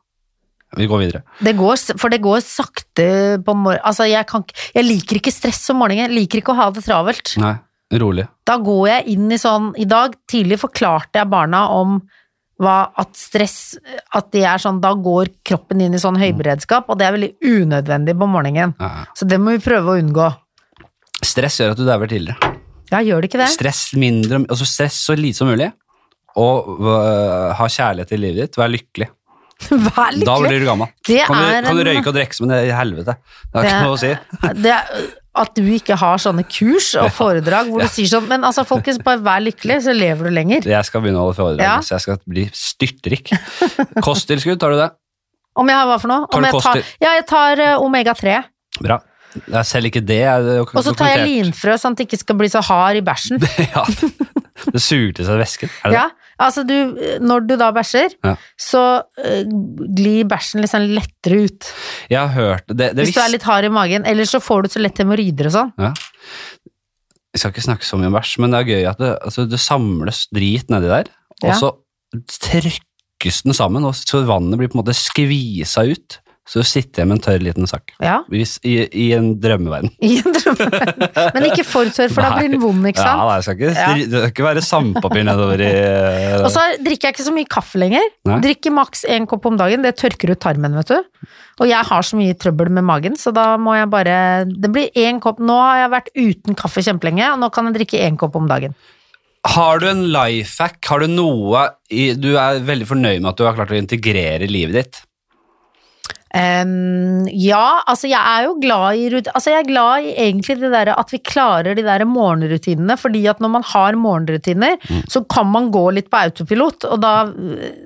S1: Vi går videre.
S2: Det går, s- for det går sakte på morgenen. Altså, jeg, kan, ikke- jeg liker ikke stress om morgenen. Jeg liker ikke å ha det travelt.
S1: Nei, rolig.
S2: Da går jeg inn i sånn I dag tidlig forklarte jeg barna om hva, at stress At de er sånn Da går kroppen inn i sånn høyberedskap, og det er veldig unødvendig på morgenen.
S1: Ja, ja.
S2: Så det må vi prøve å unngå.
S1: Stress gjør at du dauer tidligere.
S2: Ja, gjør det ikke det?
S1: Stress mindre, altså stress så lite som mulig, og øh, ha kjærlighet i livet ditt, vær lykkelig.
S2: Vær
S1: Da
S2: lykkelig.
S1: blir du gammel.
S2: Det
S1: Kan du,
S2: er
S1: kan du
S2: en-
S1: røyke og drikke som en helvete. Det er
S2: Det
S1: ikke
S2: er-
S1: noe å si.
S2: Det er, at du ikke har sånne kurs og foredrag hvor du sier sånn Men altså, folkens, bare vær lykkelig, så lever du lenger.
S1: Jeg skal begynne å holde foredrag,
S2: Ja.
S1: så jeg skal bli styrtrik. Kosttilskudd, tar du det?
S2: Om jeg har hva for noe?
S1: Tar
S2: Om
S1: du
S2: jeg tar,
S1: koster?
S2: ja, jeg tar eh, omega-3.
S1: Bra. Ja, selv ikke det er jo
S2: Og så tar jeg
S1: dokumentert.
S2: linfrø, sånn at det ikke skal bli så hard i bæsjen.
S1: ja, det- det suger til seg væsken. Er det
S2: Ja, altså du, når du da bæsjer,
S1: Ja.
S2: så eh, glir bæsjen litt sånn lettere ut.
S1: det? Jeg har hørt det. det
S2: Hvis du
S1: visste-
S2: er litt hard i magen, ellers så får du så lett hemoroider og sånn.
S1: Ja. Jeg skal ikke snakke så mye om bæsj, men det er gøy at det, altså, det samles drit nedi der, og
S2: Ja.
S1: så trykkes den sammen, og så vannet blir på en måte skvisa ut. Så sitter jeg med en tørr liten sak.
S2: Ja,
S1: Hvis, i, I en drømmeverden.
S2: i en drømmeverden. Men ikke for tørr, for da
S1: Nei.
S2: blir den vond, ikke
S1: Ja,
S2: sant?
S1: nei, det, skal ikke,
S2: Ja.
S1: det skal ikke være sandpapir nedover i eh,
S2: Og så drikker jeg ikke så mye kaffe lenger.
S1: Nei.
S2: Drikker maks én kopp om dagen. Det tørker ut tarmen, vet du. Og jeg har så mye trøbbel med magen, så da må jeg bare Det blir én kopp. Nå har jeg vært uten kaffe kjempelenge, og nå kan jeg drikke én kopp om dagen.
S1: Har du en life hack? Har du noe i, du er veldig fornøyd med at du har klart å integrere i livet ditt?
S2: Ehm, ja, altså jeg er jo glad i rut- Altså jeg er glad i egentlig det derre at vi klarer de der morgenrutinene, fordi at når man har morgenrutiner,
S1: Mm.
S2: så kan man gå litt på autopilot, og da,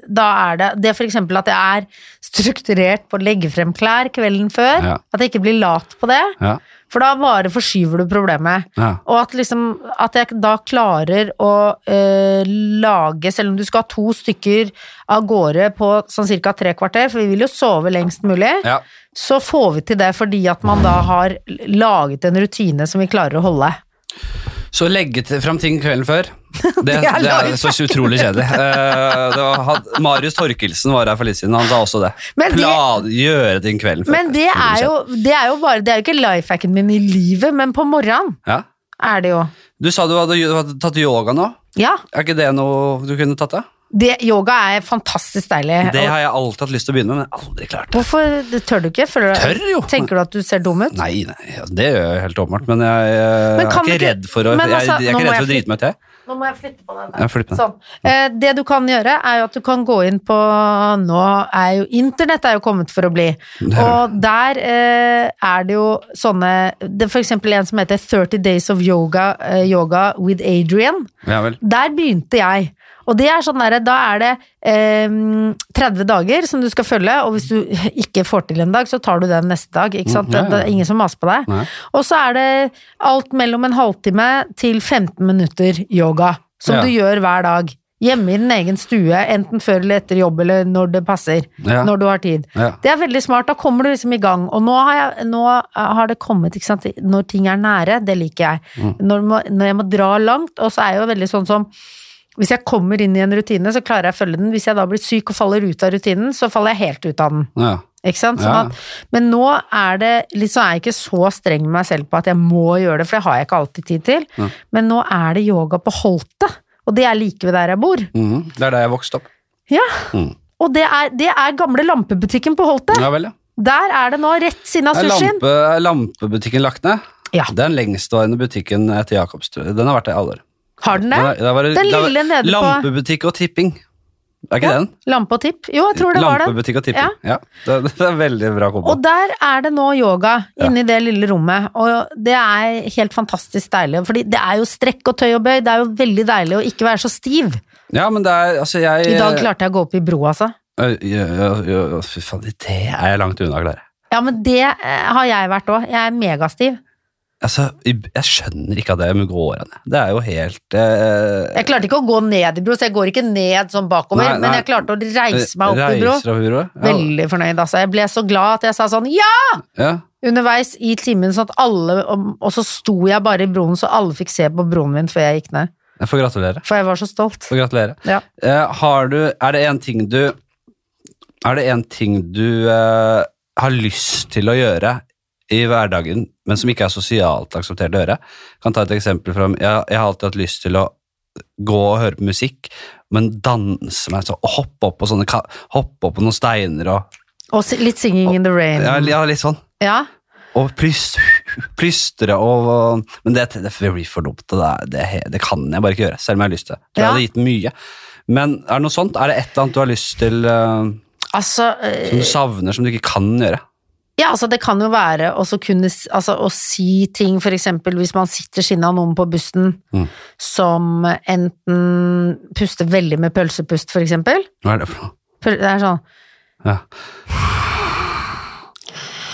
S2: da er det Det er for eksempel at jeg er strukturert på å legge frem klær kvelden før,
S1: Ja.
S2: at jeg ikke blir lat på det,
S1: Ja.
S2: for da bare forskyver du problemet.
S1: ja.
S2: Og at, liksom, at jeg da klarer å eh, lage, selv om du skal ha to stykker av gårde på sånn cirka tre kvarter, for vi vil jo sove lengst mulig,
S1: ja.
S2: så får vi til det fordi at man da har laget en rutine som vi klarer å holde.
S1: Så legge til- fram ting kvelden før. Det, det er,
S2: life
S1: så utrolig kjedelig. Eh, det var, had, Marius Torkelsen var her for litt siden, han sa også det.
S2: Men det-
S1: Plan, gjøre ting kvelden før.
S2: Men det er jo, det er jo bare, det er jo ikke lifehacken min i livet, men på morgenen
S1: ja.
S2: er det jo.
S1: Du sa du hadde, du hadde tatt yoga nå.
S2: Ja,
S1: Er ikke det noe du kunne tatt? da?
S2: det, yoga er fantastisk deilig.
S1: Det har jeg alltid hatt lyst til å begynne med, men aldri klart. det.
S2: Hvorfor det tør du ikke? Føler du,
S1: Tør jo.
S2: Tenker du at du ser dum ut?
S1: Nei, nei, ja, det gjør jeg helt åpenbart, men jeg, eh,
S2: Men
S1: er
S2: kan
S1: ikke
S2: du ikke-
S1: redd for å,
S2: Men
S1: jeg,
S2: altså,
S1: jeg er
S2: nå
S1: ikke redd
S2: må
S1: for å
S2: jeg
S1: drite meg ut, jeg.
S2: Nå må jeg flytte på den.
S1: Jeg flytter meg.
S2: Sånn. Eh, det du kan gjøre, er jo at du kan gå inn på Nå er jo Internett er jo kommet for å bli.
S1: Det er
S2: Og der eh, er det jo sånne Det er for eksempel en som heter 30 Days of Yoga, eh, yoga with Adrian.
S1: Ja vel.
S2: Der begynte jeg. Og det er sånn derre, da er det ehm, 30 dager som du skal følge, og hvis du ikke får til en dag, så tar du den neste dag. ikke sant?
S1: Mm, ja, ja.
S2: Det er ingen som maser på deg.
S1: Nei.
S2: Og så er det alt mellom en halvtime til 15 minutter yoga, som
S1: Ja.
S2: du gjør hver dag. Hjemme i din egen stue, enten før eller etter jobb, eller når det passer.
S1: Ja.
S2: Når du har tid.
S1: Ja.
S2: Det er veldig smart, da kommer du liksom i gang. Og nå har, jeg, nå eh, har det kommet, ikke sant, når ting er nære, det liker jeg.
S1: Mm.
S2: Når, må, når jeg må dra langt, og så er jeg jo veldig sånn som Hvis jeg kommer inn i en rutine, så klarer jeg å følge den. Hvis jeg da blir syk og faller ut av rutinen, så faller jeg helt ut av den.
S1: Ja.
S2: Ikke sant?
S1: Ja.
S2: Sånn at, men nå er det liksom, er jeg ikke så streng med meg selv på at jeg må gjøre det, for det har jeg ikke alltid tid til.
S1: Ja.
S2: Men nå er det yoga på Holte, og det er like ved der jeg bor.
S1: Mhm. Det er der jeg vokste opp.
S2: Ja.
S1: Mm.
S2: Og det er, det er gamle lampebutikken på Holte.
S1: Ja vel, ja.
S2: Der er det nå rett siden av
S1: Er
S2: sushien.
S1: lampe, er lampebutikken lagt ned?
S2: Altså, Ja.
S1: Det er den lengstvarende butikken etter Jakobstrø. Den har vært der i alle år.
S2: Har den det?
S1: Den er- der var det-
S2: Den
S1: der var-
S2: lille nede på-
S1: Lampebutikk og tipping. Er ikke
S2: Ja,
S1: den?
S2: Lampe og tipp. Jo, jeg tror det var det.
S1: Lampebutikk og tipping. Ja. Det, det er veldig bra kombo.
S2: Og der er det nå yoga, inni det lille rommet. Og det er helt fantastisk deilig. Fordi det er jo strekk og tøy og bøy. Det er jo veldig deilig å ikke være så stiv.
S1: Ja, men det er altså jeg
S2: I dag klarte jeg å gå opp i bro, altså.
S1: Øy, øy, øy, øy, øy, Fy faen, det er jeg langt unna, Klare.
S2: Ja, men det eh, har jeg vært òg. Jeg er megastiv.
S1: Altså, jeg jeg skjønner ikke at det går an. Det er jo helt eh,
S2: Jeg klarte ikke å gå ned i bro, så jeg går ikke ned sånn bakover,
S1: Nei, nei.
S2: men jeg klarte å reise meg opp i bro.
S1: Reiser opp i bro. Ja.
S2: Veldig fornøyd, altså. Jeg ble så glad at jeg sa sånn ja!
S1: ja.
S2: Underveis i timen, sånn at alle Og så sto jeg bare i broen, så alle fikk se på broen min før jeg gikk ned.
S1: Jeg får gratulere.
S2: For jeg var så stolt.
S1: Får gratulere.
S2: Ja.
S1: Eh, har du, er det en ting du Er det en ting du eh, har lyst til å gjøre i hverdagen, men som ikke er sosialt akseptert å gjøre? Jeg kan ta et eksempel fra Jeg, jeg har alltid hatt lyst til å gå og høre på musikk, men danse meg så, og hoppe opp på sånne ka- Hoppe opp på noen steiner og
S2: Og si- litt singing in the rain.
S1: Ja, ja litt sånn.
S2: Ja.
S1: Og plys- plystre og, og Men det, det blir for dumt. og Det, er- det, er he- det kan jeg bare ikke gjøre, selv om jeg har lyst til det. Tror
S2: Ja.
S1: jeg hadde gitt mye. Men er det noe sånt? Er det et eller annet du har lyst til eh,
S2: Altså, eh,
S1: som du savner, som du ikke kan gjøre?
S2: ja, altså det kan jo være også kunne, s- altså, å si ting, for eksempel hvis man sitter skinnet av noen på bussen
S1: Mm.
S2: som enten puster veldig med pølsepust, for eksempel. sånn,
S1: Hva er det for noe?
S2: Pøl- Det er sånn
S1: Ja.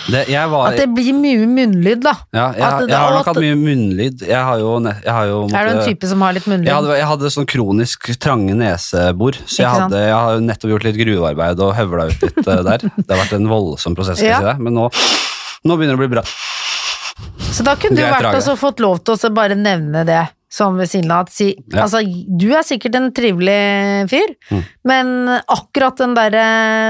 S1: Det, jeg var,
S2: At det blir mye munnlyd, da.
S1: ja, jeg,
S2: at det-
S1: jeg har
S2: og
S1: nok
S2: at-
S1: hatt mye munnlyd. Jeg har jo, ne- jeg har jo
S2: Er du en
S1: måtte-
S2: type som har litt munnlyd?
S1: Jeg hadde, jeg hadde sånn kronisk trange nesebor, så jeg,
S2: Ikke sant?
S1: hadde, jeg har jo nettopp gjort litt gruvearbeid og høvla ut litt eh, der. Det har vært en voldsom prosess, skal jeg si
S2: Ja.
S1: deg. men nå, nå begynner det å bli bra.
S2: Så da kunne du
S1: Greit
S2: vært
S1: drage.
S2: og så fått lov til å så bare nevne det sånn ved siden av. At si,
S1: Ja. Mm.
S2: altså, du er sikkert en trivelig fyr, men akkurat den derre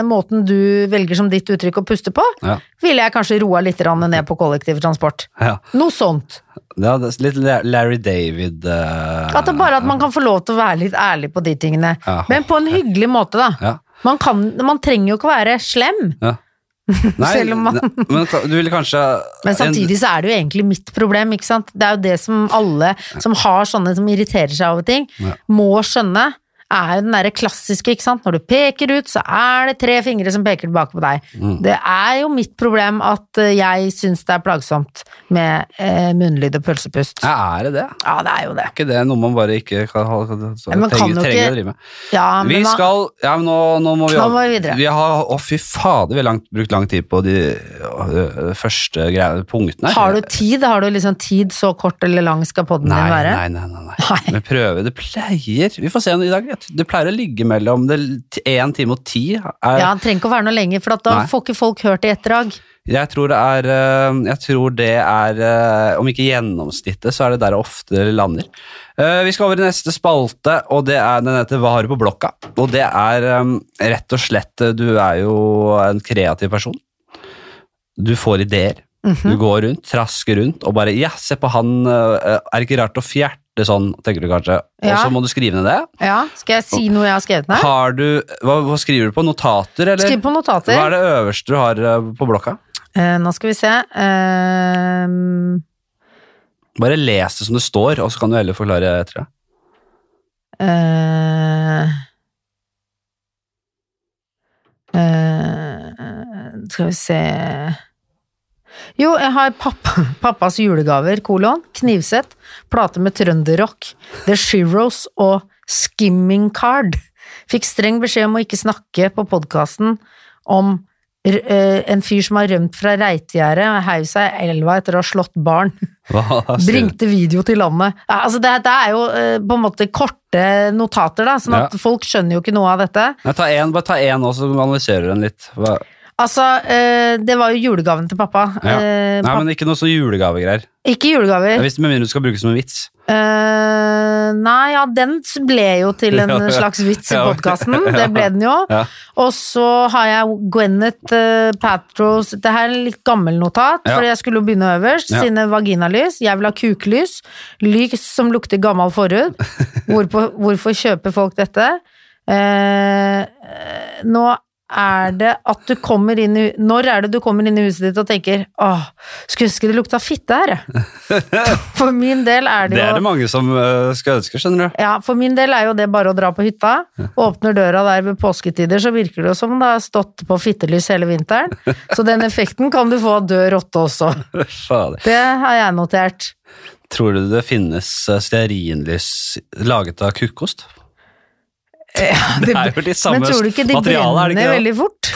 S2: måten du velger som ditt uttrykk å puste på,
S1: Ja.
S2: ville jeg kanskje roa litt grann ned på kollektivtransport.
S1: Ja.
S2: Noe sånt.
S1: Ja, det er litt La- Larry David eh,
S2: At det bare at man kan få lov til å være litt ærlig på de tingene.
S1: Ja.
S2: Men på en hyggelig måte, da.
S1: Ja.
S2: Man, kan, man trenger jo ikke å være slem.
S1: ja. Nei,
S2: Selv om man-
S1: ne- men ka- du ville kanskje
S2: Men samtidig så er det jo egentlig mitt problem, ikke sant? Det er jo det som alle som har sånne som irriterer seg over ting,
S1: Ja.
S2: må skjønne, er jo den derre klassiske, ikke sant? Når du peker ut, så er det tre fingre som peker tilbake på deg.
S1: Mm.
S2: Det er jo mitt problem at eh, jeg syns det er plagsomt med eh, munnlyd og pølsepust.
S1: Ja,
S2: Ja.
S1: Er det det? Er
S2: det er jo det.
S1: ikke det noe man bare ikke kan, ha- kan,
S2: Ja,
S1: trenger,
S2: men kan du
S1: trenger
S2: ikke-
S1: å drive med?
S2: Ja,
S1: Vi
S2: men man-
S1: skal Ja, men nå, nå må vi
S2: Nå må vi videre.
S1: har, å, fy fader, vi har langt, brukt lang tid på de øh, første greiene, punktene. her.
S2: har du tid? Har du liksom tid så kort eller lang skal podden
S1: Nei,
S2: din være?
S1: nei, nei, nei, nei.
S2: Nei.
S1: Men prøve, det pleier Vi får se i dag. vet du. Det pleier å ligge mellom det, en time og ti. Er,
S2: Ja, det trenger ikke å være noe lenger, for at da
S1: Nei.
S2: får ikke folk hørt i etterdrag.
S1: Jeg tror det er eh, Jeg tror det er eh, Om ikke gjennomsnittet, så er det der det ofte lander. Eh, Vi skal over i neste spalte, og det er den heter Hva har du på blokka? Og det er eh, rett og slett eh, Du er jo en kreativ person. Du får ideer.
S2: Mhm.
S1: Du går rundt, trasker rundt og bare Ja, se på han. eh, Er det ikke rart å fjerte sånn, tenker du kanskje. Og
S2: Ja.
S1: så må du skrive ned det.
S2: Ja, skal jeg si noe jeg har skrevet ned?
S1: Har du Hva, hva skriver du på? Notater, eller?
S2: Skriv på notater.
S1: Hva er det øverste du har eh, på blokka?
S2: Eh, nå skal vi se. Ehm,
S1: Bare les det som det står, og så kan du heller forklare etter det.
S2: eh, eh, skal vi se Jo, jeg har pappa, pappas julegaver, kolon, knivsett, plate med trønderrock, The Shiros og Skimming Card. Fikk streng beskjed om å ikke snakke på podkasten om r- eh, en fyr som har rømt fra Reitegjerdet og heiv seg i elva etter å ha slått barn.
S1: Hva sier du?
S2: Bringte video til landet. Ja, altså det, det er jo eh, på en måte korte notater, da, sånn at
S1: Ja.
S2: folk skjønner jo ikke noe av dette.
S1: Nei, ta en, bare ta én, og så analyserer du den litt. Hva?
S2: Altså, eh, det var jo julegaven til pappa.
S1: Ja.
S2: Eh,
S1: Nei,
S2: pap-
S1: men Ikke noe sånn julegavegreier.
S2: Ikke
S1: Ja,
S2: julegaver.
S1: Hvis Med mindre du skal bruke det som en vits.
S2: Eh, nei, ja, den ble jo til en
S1: Ja, ja.
S2: slags vits i
S1: Ja.
S2: podkasten. Det ble den jo.
S1: Ja.
S2: Og så har jeg Gwenneth eh, Paltrows Det her er en litt gammel notat,
S1: Ja.
S2: for jeg skulle jo begynne øverst.
S1: Ja.
S2: Sine vaginalys. Jeg vil ha kuklys. Lys som lukter gammel forhud. Hvorpå, hvorfor kjøper folk dette? Eh, eh, nå er det at du kommer inn i Når er det du kommer inn i huset ditt og tenker åh, skulle ønske det lukta fitte her, jeg». For min del er det
S1: Det
S2: jo
S1: er det mange som øh, skal ønske, skjønner du.
S2: ja, for min del er jo det bare å dra på hytta. Åpner døra der ved påsketider, så virker det jo som om det har stått på fittelys hele vinteren. Så den effekten kan du få av død rotte også.
S1: Fader.
S2: Det har jeg notert.
S1: Tror du det finnes øh, stearinlys laget av kukkost?
S2: Eh,
S1: Det er jo de samme
S2: Men tror du ikke de
S1: materialene, er det
S2: brenner
S1: ikke det?
S2: veldig fort?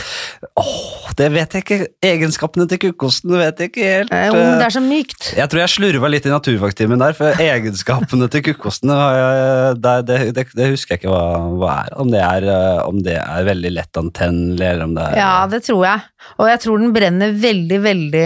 S1: Åh, det vet jeg ikke. Egenskapene til kukkosten det vet jeg ikke helt.
S2: Eh, Om det er så mykt.
S1: Jeg tror jeg slurva litt i naturfagtimen der, for egenskapene til kukkostene har jeg- det, det, det, det husker jeg ikke hva, hva er. Om det er, eh, om det er veldig lett antennelig, eller om det er
S2: Ja, det tror jeg. Og jeg tror den brenner veldig, veldig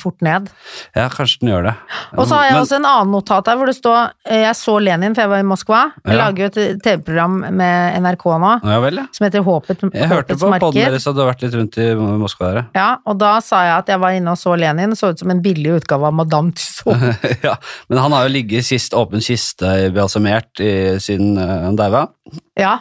S2: fort ned.
S1: Ja, kanskje den gjør det.
S2: Og så har jeg
S1: Men-
S2: også en annen notat her hvor det står eh, Jeg så Lenin, for jeg var i Moskva. Jeg
S1: Ja.
S2: lager jo et TV-program med NRK nå
S1: Ja vel, ja.
S2: som heter Håpet,
S1: Jeg hørte
S2: Håpets
S1: på podden
S2: marked.
S1: deres at du har vært litt rundt i Moskva der.
S2: Ja, og da sa jeg at jeg var inne og så Lenin, så ut som en billig utgave av Madame Tussauds.
S1: ja. ja. Men han har jo ligget i sist, åpen kiste, i balsamert, i, siden eh, han daua.
S2: Ja,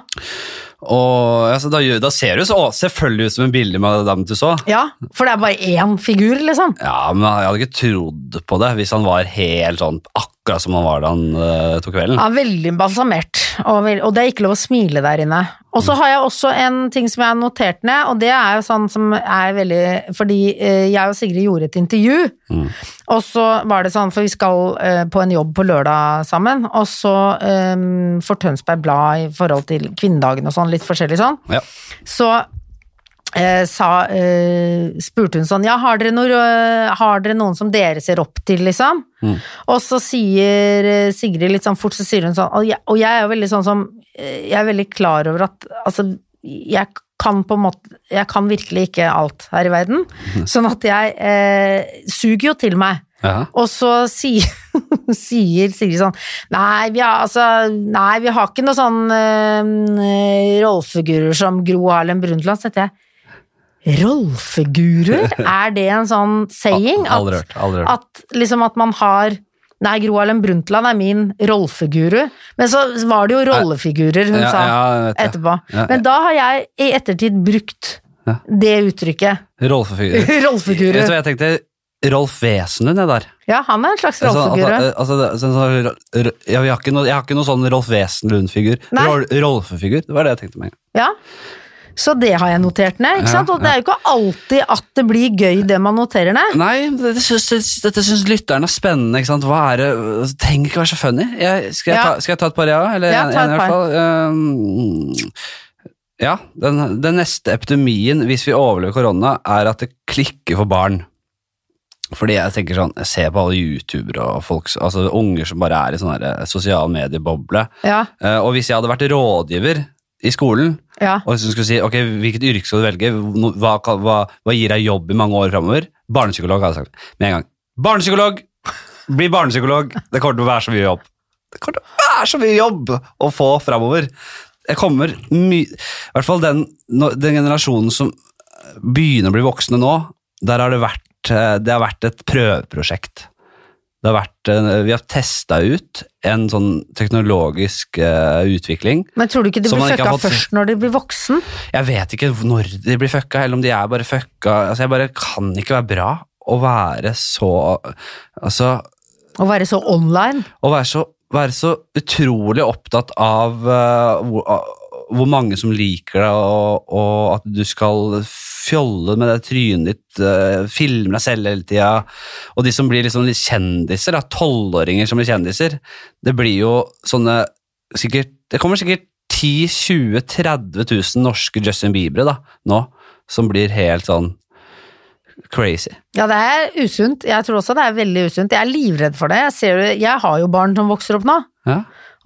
S1: Og altså, da, gjør- da ser du så å, selvfølgelig ut som en billig madame Tussauds.
S2: ja, for det er bare én figur, liksom.
S1: Ja, men jeg hadde ikke trodd på det hvis han var helt sånn akkurat som han var da han eh, tok kvelden.
S2: Ja, veldig balsamert, og, vel- og det er ikke lov å smile der inne. Og så har jeg også en ting som jeg har notert ned, og det er jo sånn som er veldig Fordi eh, jeg og Sigrid gjorde et intervju, og så var det sånn, for vi skal eh, på en jobb på lørdag sammen, og så eh, for Tønsberg Blad i forhold til kvinnedagen og sånn, litt forskjellig sånn.
S1: Ja.
S2: så eh, sa, eh, spurte hun sånn, ja, har dere, noe, eh, har dere noen som dere ser opp til, liksom? Og så sier eh, Sigrid litt sånn fort, så sier hun sånn, og jeg, og jeg er jo veldig sånn som, eh, jeg er veldig klar over at, altså, jeg kan på en måte, jeg kan virkelig ikke alt her i verden, sånn at jeg eh, suger jo til meg.
S1: Ja.
S2: Og så sier, sier Sigrid sånn nei vi, har, altså, nei, vi har ikke noe sånn øh, rollefigurer som Gro Harlem Brundtland, så tenkte jeg. Rollefigurer? Er det en sånn saying?
S1: Al- aldri hørt, aldri hørt.
S2: At, liksom at man har Nei, Gro Harlem Brundtland er min rollefiguru. Men så var det jo rollefigurer hun
S1: Ja,
S2: sa
S1: ja, jeg vet det.
S2: etterpå.
S1: Ja, ja.
S2: Men da har jeg i ettertid brukt
S1: Ja.
S2: det uttrykket.
S1: Rolfefigurer. Vet du
S2: rollefigurer.
S1: hva jeg tenkte? Rolf Wesenlund, det der.
S2: Ja, han er en slags
S1: Sånn, altså,
S2: rollefigure.
S1: eh, altså, det- sånn, sånn, ro- ro- ja, vi har ikke noe- jeg har ikke noen sånn Rolf Wesenlund-figur.
S2: Nei.
S1: Rol- Rolfefigur. Det var det jeg tenkte med. en gang.
S2: Ja. Så det har jeg notert ned. ikke
S1: Ja,
S2: sant? Og det er jo ikke alltid at det blir gøy det man noterer ned.
S1: Nei, dette syns, syns- dette syns lytterne er spennende. Ikke sant? Hva er det altså, Trenger ikke være så funny. Jeg, skal, jeg
S2: Ja.
S1: ta, skal jeg ta et par, ja? Eller
S2: Ja,
S1: en,
S2: ta
S1: en, i hvert
S2: et par.
S1: fall. Um, ja, den, den neste epidemien, hvis vi overlever korona, er at det klikker for barn. Fordi jeg tenker sånn, jeg ser på alle youtubere og folk, altså unger som bare er i sånn her sosial medieboble.
S2: Ja,
S1: Eh, Og hvis jeg hadde vært rådgiver i skolen,
S2: ja,
S1: og hvis du skulle si ok, hvilket yrke skal du velge, Nå- hva, kan- hva, hva gir deg jobb i mange år framover? Barnepsykolog, hadde jeg sagt. Med en gang. Barnepsykolog! Bli barnepsykolog! Det kommer til å være så mye jobb. Det kommer til å være så mye jobb å få framover. Jeg kommer mye I hvert fall den, nå- den generasjonen som begynner å bli voksne nå, der har det vært, eh, det har vært et prøveprosjekt. Det har vært, eh, vi har testa ut en sånn teknologisk eh, utvikling
S2: Men tror du ikke de
S1: Som
S2: blir
S1: man ikke
S2: fucka
S1: har fått-
S2: først når de blir voksen?
S1: jeg vet ikke når de blir fucka, eller om de er bare fucka. Altså, jeg bare kan ikke være bra å være så Altså,
S2: Å være så online?
S1: å være så, være så utrolig opptatt av eh, hvor, av hvor mange som liker deg, og, og at du skal fjolle med det trynet ditt, eh, filme deg selv hele tida. Og de som blir liksom litt kjendiser, da, tolvåringer som blir kjendiser, det blir jo sånne sikkert, Det kommer sikkert 10 20 30 000 norske Justin Bieber da, nå, som blir helt sånn crazy.
S2: Ja, det er usunt. Jeg tror også det er veldig usunt. Jeg er livredd for det. Jeg, ser, jo- jeg har jo barn som vokser opp nå,
S1: Ja.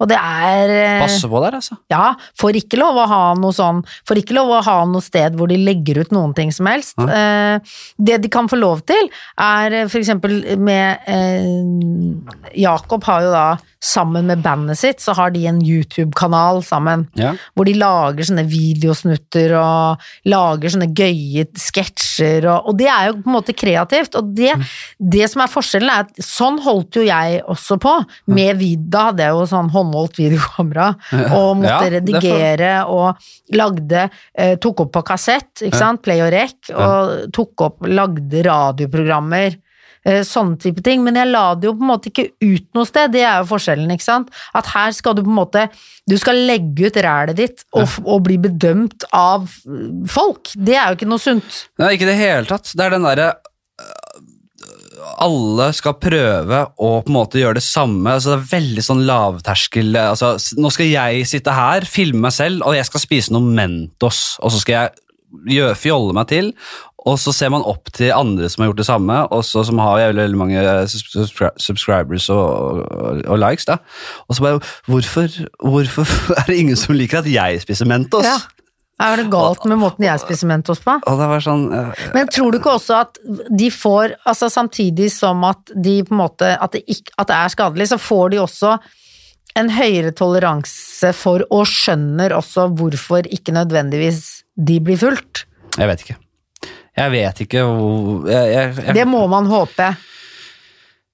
S2: og det er eh,
S1: Passe på der, altså.
S2: Ja, får ikke lov å ha noe sånn, får ikke lov å ha noe sted hvor de legger ut noen ting som helst. Eh, det de kan få lov til, er eh, for eksempel med eh, Jakob har jo da, sammen med bandet sitt, så har de en YouTube-kanal sammen.
S1: Ja.
S2: Hvor de lager sånne videosnutter og lager sånne gøye sketsjer. Og, og det er jo på en måte kreativt. Og
S1: Mm.
S2: det, det som er forskjellen, er at sånn holdt jo jeg også på. Med vid, da hadde jeg jo sånn håndholdt videokamera og måtte
S1: Ja, det får-
S2: redigere og lagde eh, Tok opp på kassett, ikke sant? Play og rec. Og tok opp, lagde radioprogrammer. eh, Sånne type ting, men jeg la det jo på en måte ikke ut noe sted, det er jo forskjellen, ikke sant? At her skal du på en måte Du skal legge ut rælet ditt og, f- og bli bedømt av eh, folk. Det er jo ikke noe sunt.
S1: Nei, ikke i det hele tatt. Det er den derre øh, alle skal prøve å på en måte gjøre det samme. Altså, det er veldig sånn lavterskel altså, s- Nå skal jeg sitte her, filme meg selv, og jeg skal spise noe Mentos. Og så skal jeg gjø- fjolle meg til, og så ser man opp til andre som har gjort det samme, og så som har jævlig veldig mange eh, subs- subscri- subscribers og, og, og likes. da. Og så bare hvorfor, hvorfor er det ingen som liker at jeg spiser Mentos?
S2: Ja. Er det galt med måten jeg spiser Mentos på?
S1: Og det var sånn... eh,
S2: Men tror du ikke også at de får, altså samtidig som at de på en måte, at det, ikk- at det er skadelig, så får de også en høyere toleranse for, og skjønner også hvorfor ikke nødvendigvis de blir fulgt.
S1: Jeg vet ikke. Jeg vet ikke hvor jeg, jeg, jeg,
S2: Det må man håpe.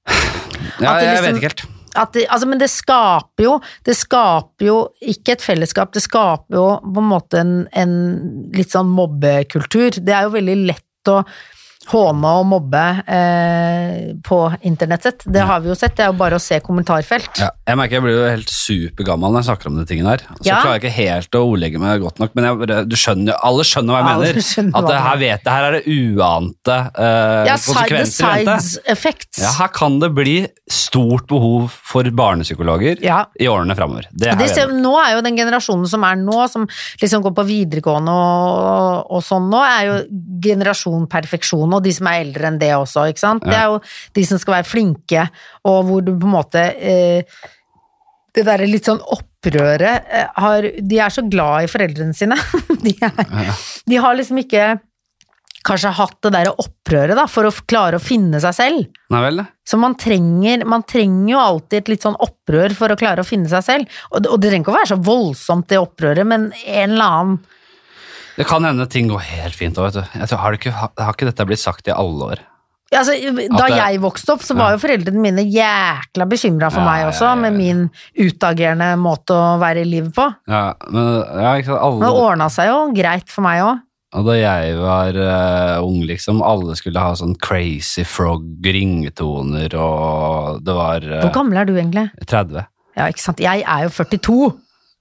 S1: ja, jeg
S2: at det liksom-
S1: vet ikke helt.
S2: At det, altså, men det skaper jo Det skaper jo ikke et fellesskap, det skaper jo på en måte en, en litt sånn mobbekultur. Det er jo veldig lett å håne og mobbe eh, på internettet. Det har vi jo sett, det er jo bare å se kommentarfelt.
S1: Ja, jeg merker jeg blir jo helt supergammel når jeg snakker om de tingene her. Så
S2: Ja.
S1: klarer jeg ikke helt å ordlegge meg godt nok, men jeg, bare- du skjønner, jo- alle skjønner hva jeg
S2: Alle
S1: mener.
S2: skjønner
S1: At
S2: hva
S1: det
S2: jeg
S1: her, vet, det her er det uante eh,
S2: Ja, side the
S1: konsekvenser. i vente.
S2: sides effects.
S1: Ja, her kan det bli stort behov for barnepsykologer
S2: Ja.
S1: i årene framover. Det er
S2: Og det
S1: jeg
S2: ser,
S1: enig i.
S2: nå er jo den generasjonen som er nå, som liksom går på videregående og, og sånn nå, er jo generasjon perfeksjon, og de som er eldre enn det også, ikke sant? Det er jo de som skal være flinke, og hvor du på en måte eh, Det derre litt sånn opprøret eh, har De er så glad i foreldrene sine. de, er, de har liksom ikke kanskje hatt det derre opprøret, da, for å f- klare å finne seg selv.
S1: Nei vel? det.
S2: Så man trenger, man trenger jo alltid et litt sånn opprør for å klare å finne seg selv. Og, det- og det trenger ikke å være så voldsomt det opprøret, men en eller annen
S1: Det kan hende ting går helt fint òg, vet du. Jeg tror, har, det ikke, har har ikke dette blitt sagt i alle år?
S2: altså, Da
S1: At det-
S2: jeg vokste opp, så var jo foreldrene mine jækla bekymra for
S1: Ja,
S2: meg
S1: ja,
S2: også,
S1: ja, ja.
S2: med min utagerende måte å være i livet på.
S1: Ja, men ja, ikke sant?
S2: Men det
S1: Alle,
S2: ordna seg jo greit for meg òg.
S1: og da jeg var eh, ung, liksom, alle skulle ha sånn crazy frog-ringetoner, og det var eh,
S2: Hvor gammel er du egentlig?
S1: 30.
S2: Ja, ikke sant. Jeg er jo 42.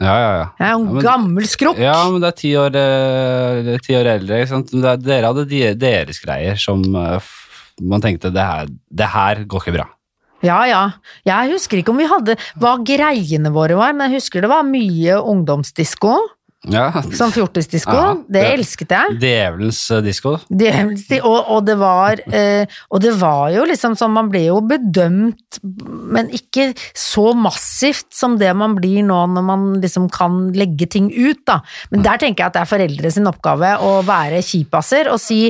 S1: Ja, ja, ja.
S2: Jeg er jo en
S1: Ja, men-
S2: gammel skrukk.
S1: Ja, men det er ti år, eh, det er ti år eldre. Ikke sant? Men Det er, dere hadde de, deres greier som eh, f- man tenkte det her, det her går ikke bra.
S2: Ja, ja. Jeg husker ikke om vi hadde hva greiene våre var, men jeg husker det var mye ungdomsdisko.
S1: Ja.
S2: Som fjortisdisko.
S1: Ja,
S2: det
S1: det-
S2: elsket jeg.
S1: Djevelens eh, disko.
S2: Djevelens tid. Og, og, det var, eh, og det var jo liksom sånn, man ble jo bedømt, men ikke så massivt som det man blir nå når man liksom kan legge ting ut, da.
S1: Mm.
S2: Men der tenker jeg at det er foreldre sin oppgave å være kjipasser og si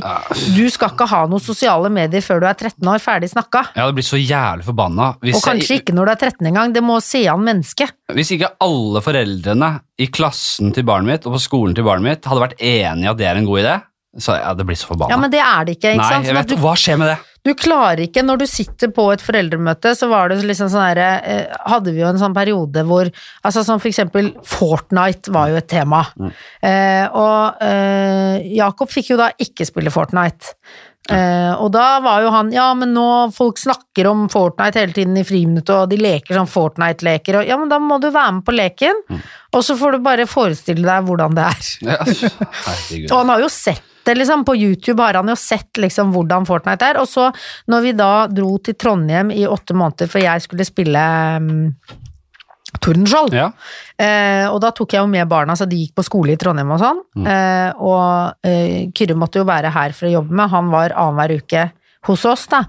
S2: du skal ikke ha noen sosiale medier før du er 13 år, ferdig snakka.
S1: Jeg hadde blitt så jævlig forbanna hvis,
S2: Og kanskje
S1: jeg,
S2: ikke når du er 13 engang, det må se an mennesket.
S1: hvis ikke alle foreldrene i klassen til barnet mitt og på skolen til barnet mitt hadde vært enige i at det er en god idé, så jeg hadde blitt så forbanna.
S2: Ja, men det er det ikke, ikke
S1: Nei,
S2: sant?
S1: jeg
S2: Sånn at
S1: vet,
S2: du
S1: hva skjer med det?
S2: Du klarer ikke, når du sitter på et foreldremøte, så var det liksom sånn herre eh, Hadde vi jo en sånn periode hvor Altså som for eksempel Fortnite var jo et tema. Eh, og eh, Jakob fikk jo da ikke spille Fortnite. Eh, og da var jo han Ja, men nå folk snakker om Fortnite hele tiden i friminuttet, og de leker sånn Fortnite-leker, og ja, men da må du være med på leken. Og så får du bare forestille deg hvordan det er.
S1: Ja, herregud.
S2: Og han har jo sett det, liksom. På YouTube har han jo sett liksom hvordan Fortnite er. Og så, når vi da dro til Trondheim i åtte måneder for jeg skulle spille mm, Tordenskjold,
S1: Ja.
S2: eh, og da tok jeg jo med barna, så de gikk på skole i Trondheim og sånn. Eh, og eh, Kyrre måtte jo være her for å jobbe med, han var annenhver uke hos oss, da.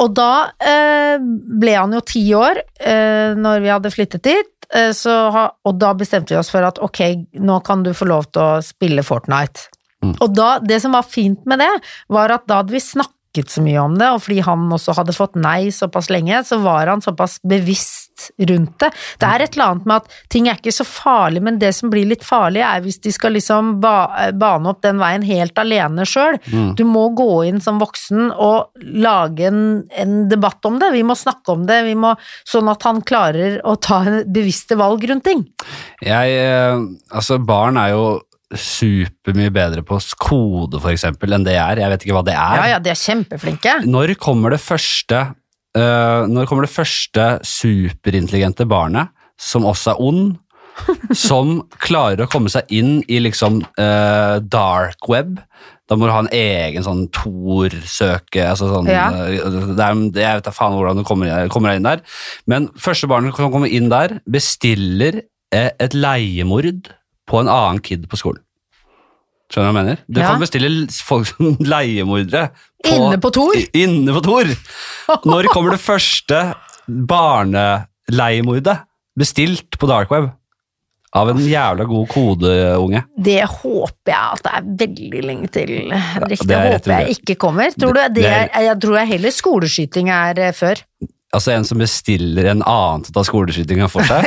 S2: Og da eh, ble han jo ti år eh, når vi hadde flyttet dit, eh, så ha, og da bestemte vi oss for at ok, nå kan du få lov til å spille Fortnite. Og da, det som var fint med det, var at da hadde vi snakket så mye om det, og fordi han også hadde fått nei såpass lenge, så var han såpass bevisst rundt det. Det er et eller annet med at ting er ikke så farlig, men det som blir litt farlig er hvis de skal liksom ba bane opp den veien helt alene sjøl. Du må gå inn som voksen og lage en, en debatt om det. Vi må snakke om det, vi må, sånn at han klarer å ta bevisste valg rundt ting.
S1: Jeg, eh, altså barn er jo supermye bedre på s- kode for eksempel enn det jeg er. Jeg vet ikke hva det er.
S2: Ja, ja, de er kjempeflinke.
S1: Når kommer det første, eh, når kommer det første superintelligente barnet, som også er ond, som klarer å komme seg inn i liksom eh, dark web? Da må du ha en egen sånn Tor-søke altså sånn,
S2: Ja.
S1: eh, det er, det, Jeg vet da faen hvordan du kommer, kommer deg inn der. Men første barnet som kommer inn der, bestiller eh, et leiemord på en annen kid på skolen. Skjønner du hva jeg mener? Du
S2: Ja.
S1: kan bestille folk som leiemordere
S2: Inne på Tor?
S1: i- Inne på Tor. Når kommer det første barneleiemordet bestilt på dark web? Av en jævla god kodeunge.
S2: Det håper jeg at det er veldig lenge til. Henrik.
S1: det
S2: Det
S1: er rett
S2: håper jeg
S1: og
S2: ikke kommer. Tror du
S1: Det-
S2: det
S1: det
S2: er,
S1: er-
S2: jeg tror jeg heller skoleskyting er eh, før.
S1: Altså en som bestiller en annen til å ta skoleskytinga for seg.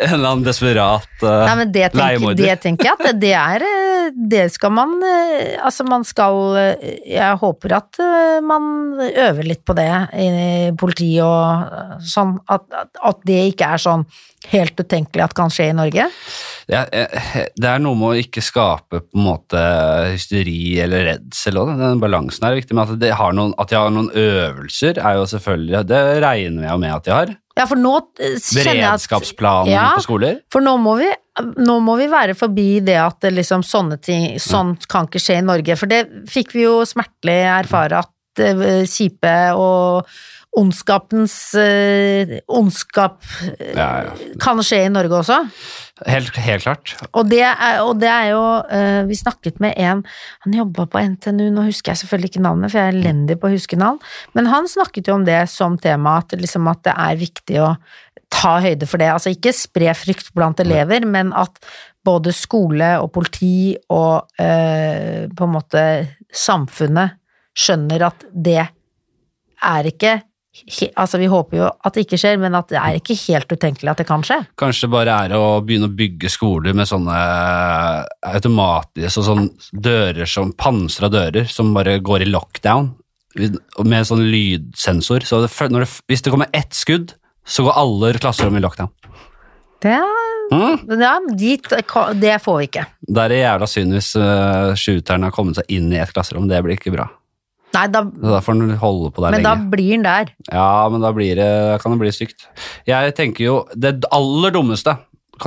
S1: en eller annen desperat eh,
S2: Nei, men det tenker,
S1: leiemorder.
S2: det tenker jeg at det er eh, Det skal man eh, Altså, man skal eh, Jeg håper at eh, man øver litt på det i politiet og eh, sånn. At, at- at det ikke er sånn helt utenkelig at kan skje i Norge.
S1: jeg, jeg, det er noe med å ikke skape på en måte hysteri eller redsel òg. Den balansen er viktig. Men at, det har noen, at jeg har noen øvelser, er jo selvfølgelig Det regner jeg jo med at jeg har.
S2: Ja, for nå eh, kjenner jeg at
S1: Beredskapsplaner
S2: Ja.
S1: på skoler.
S2: For nå må, vi, nå må vi være forbi det at det liksom sånne
S1: Mm.
S2: ting Sånn kan ikke skje i Norge. For det fikk vi jo smertelig erfare at eh, kjipe og ondskapens eh, ondskap eh,
S1: Ja, ja.
S2: kan skje i Norge også.
S1: Helt, helt klart.
S2: Og det er, og det er jo eh, Vi snakket med en Han jobba på NTNU, nå husker jeg selvfølgelig ikke navnet, for jeg er elendig på å huske navn, men han snakket jo om det som tema, at, liksom, at det er viktig å ta høyde for det. Altså ikke spre frykt blant elever, men at både skole og politi og eh, på en måte samfunnet skjønner at det er ikke he- Altså vi håper jo at det ikke skjer, men at det er ikke helt utenkelig at det kan skje.
S1: Kanskje det bare er å begynne å bygge skoler med sånne automatiske så sånn dører som pansra dører som bare går i lockdown. Med sånn lydsensor. Så det, fø- når det, f- hvis det kommer ett skudd, så går alle klasserom i lockdown.
S2: Det er
S1: Mm.
S2: Men Ja, dit, det får vi ikke.
S1: Det er jævla synd hvis uh, shooteren har kommet seg inn i et klasserom. Det blir ikke bra.
S2: Nei, da,
S1: Så Da får han holde på der
S2: men da
S1: lenge.
S2: blir den der.
S1: Ja, men da, blir det, da kan det bli stygt. Jeg tenker jo det aller dummeste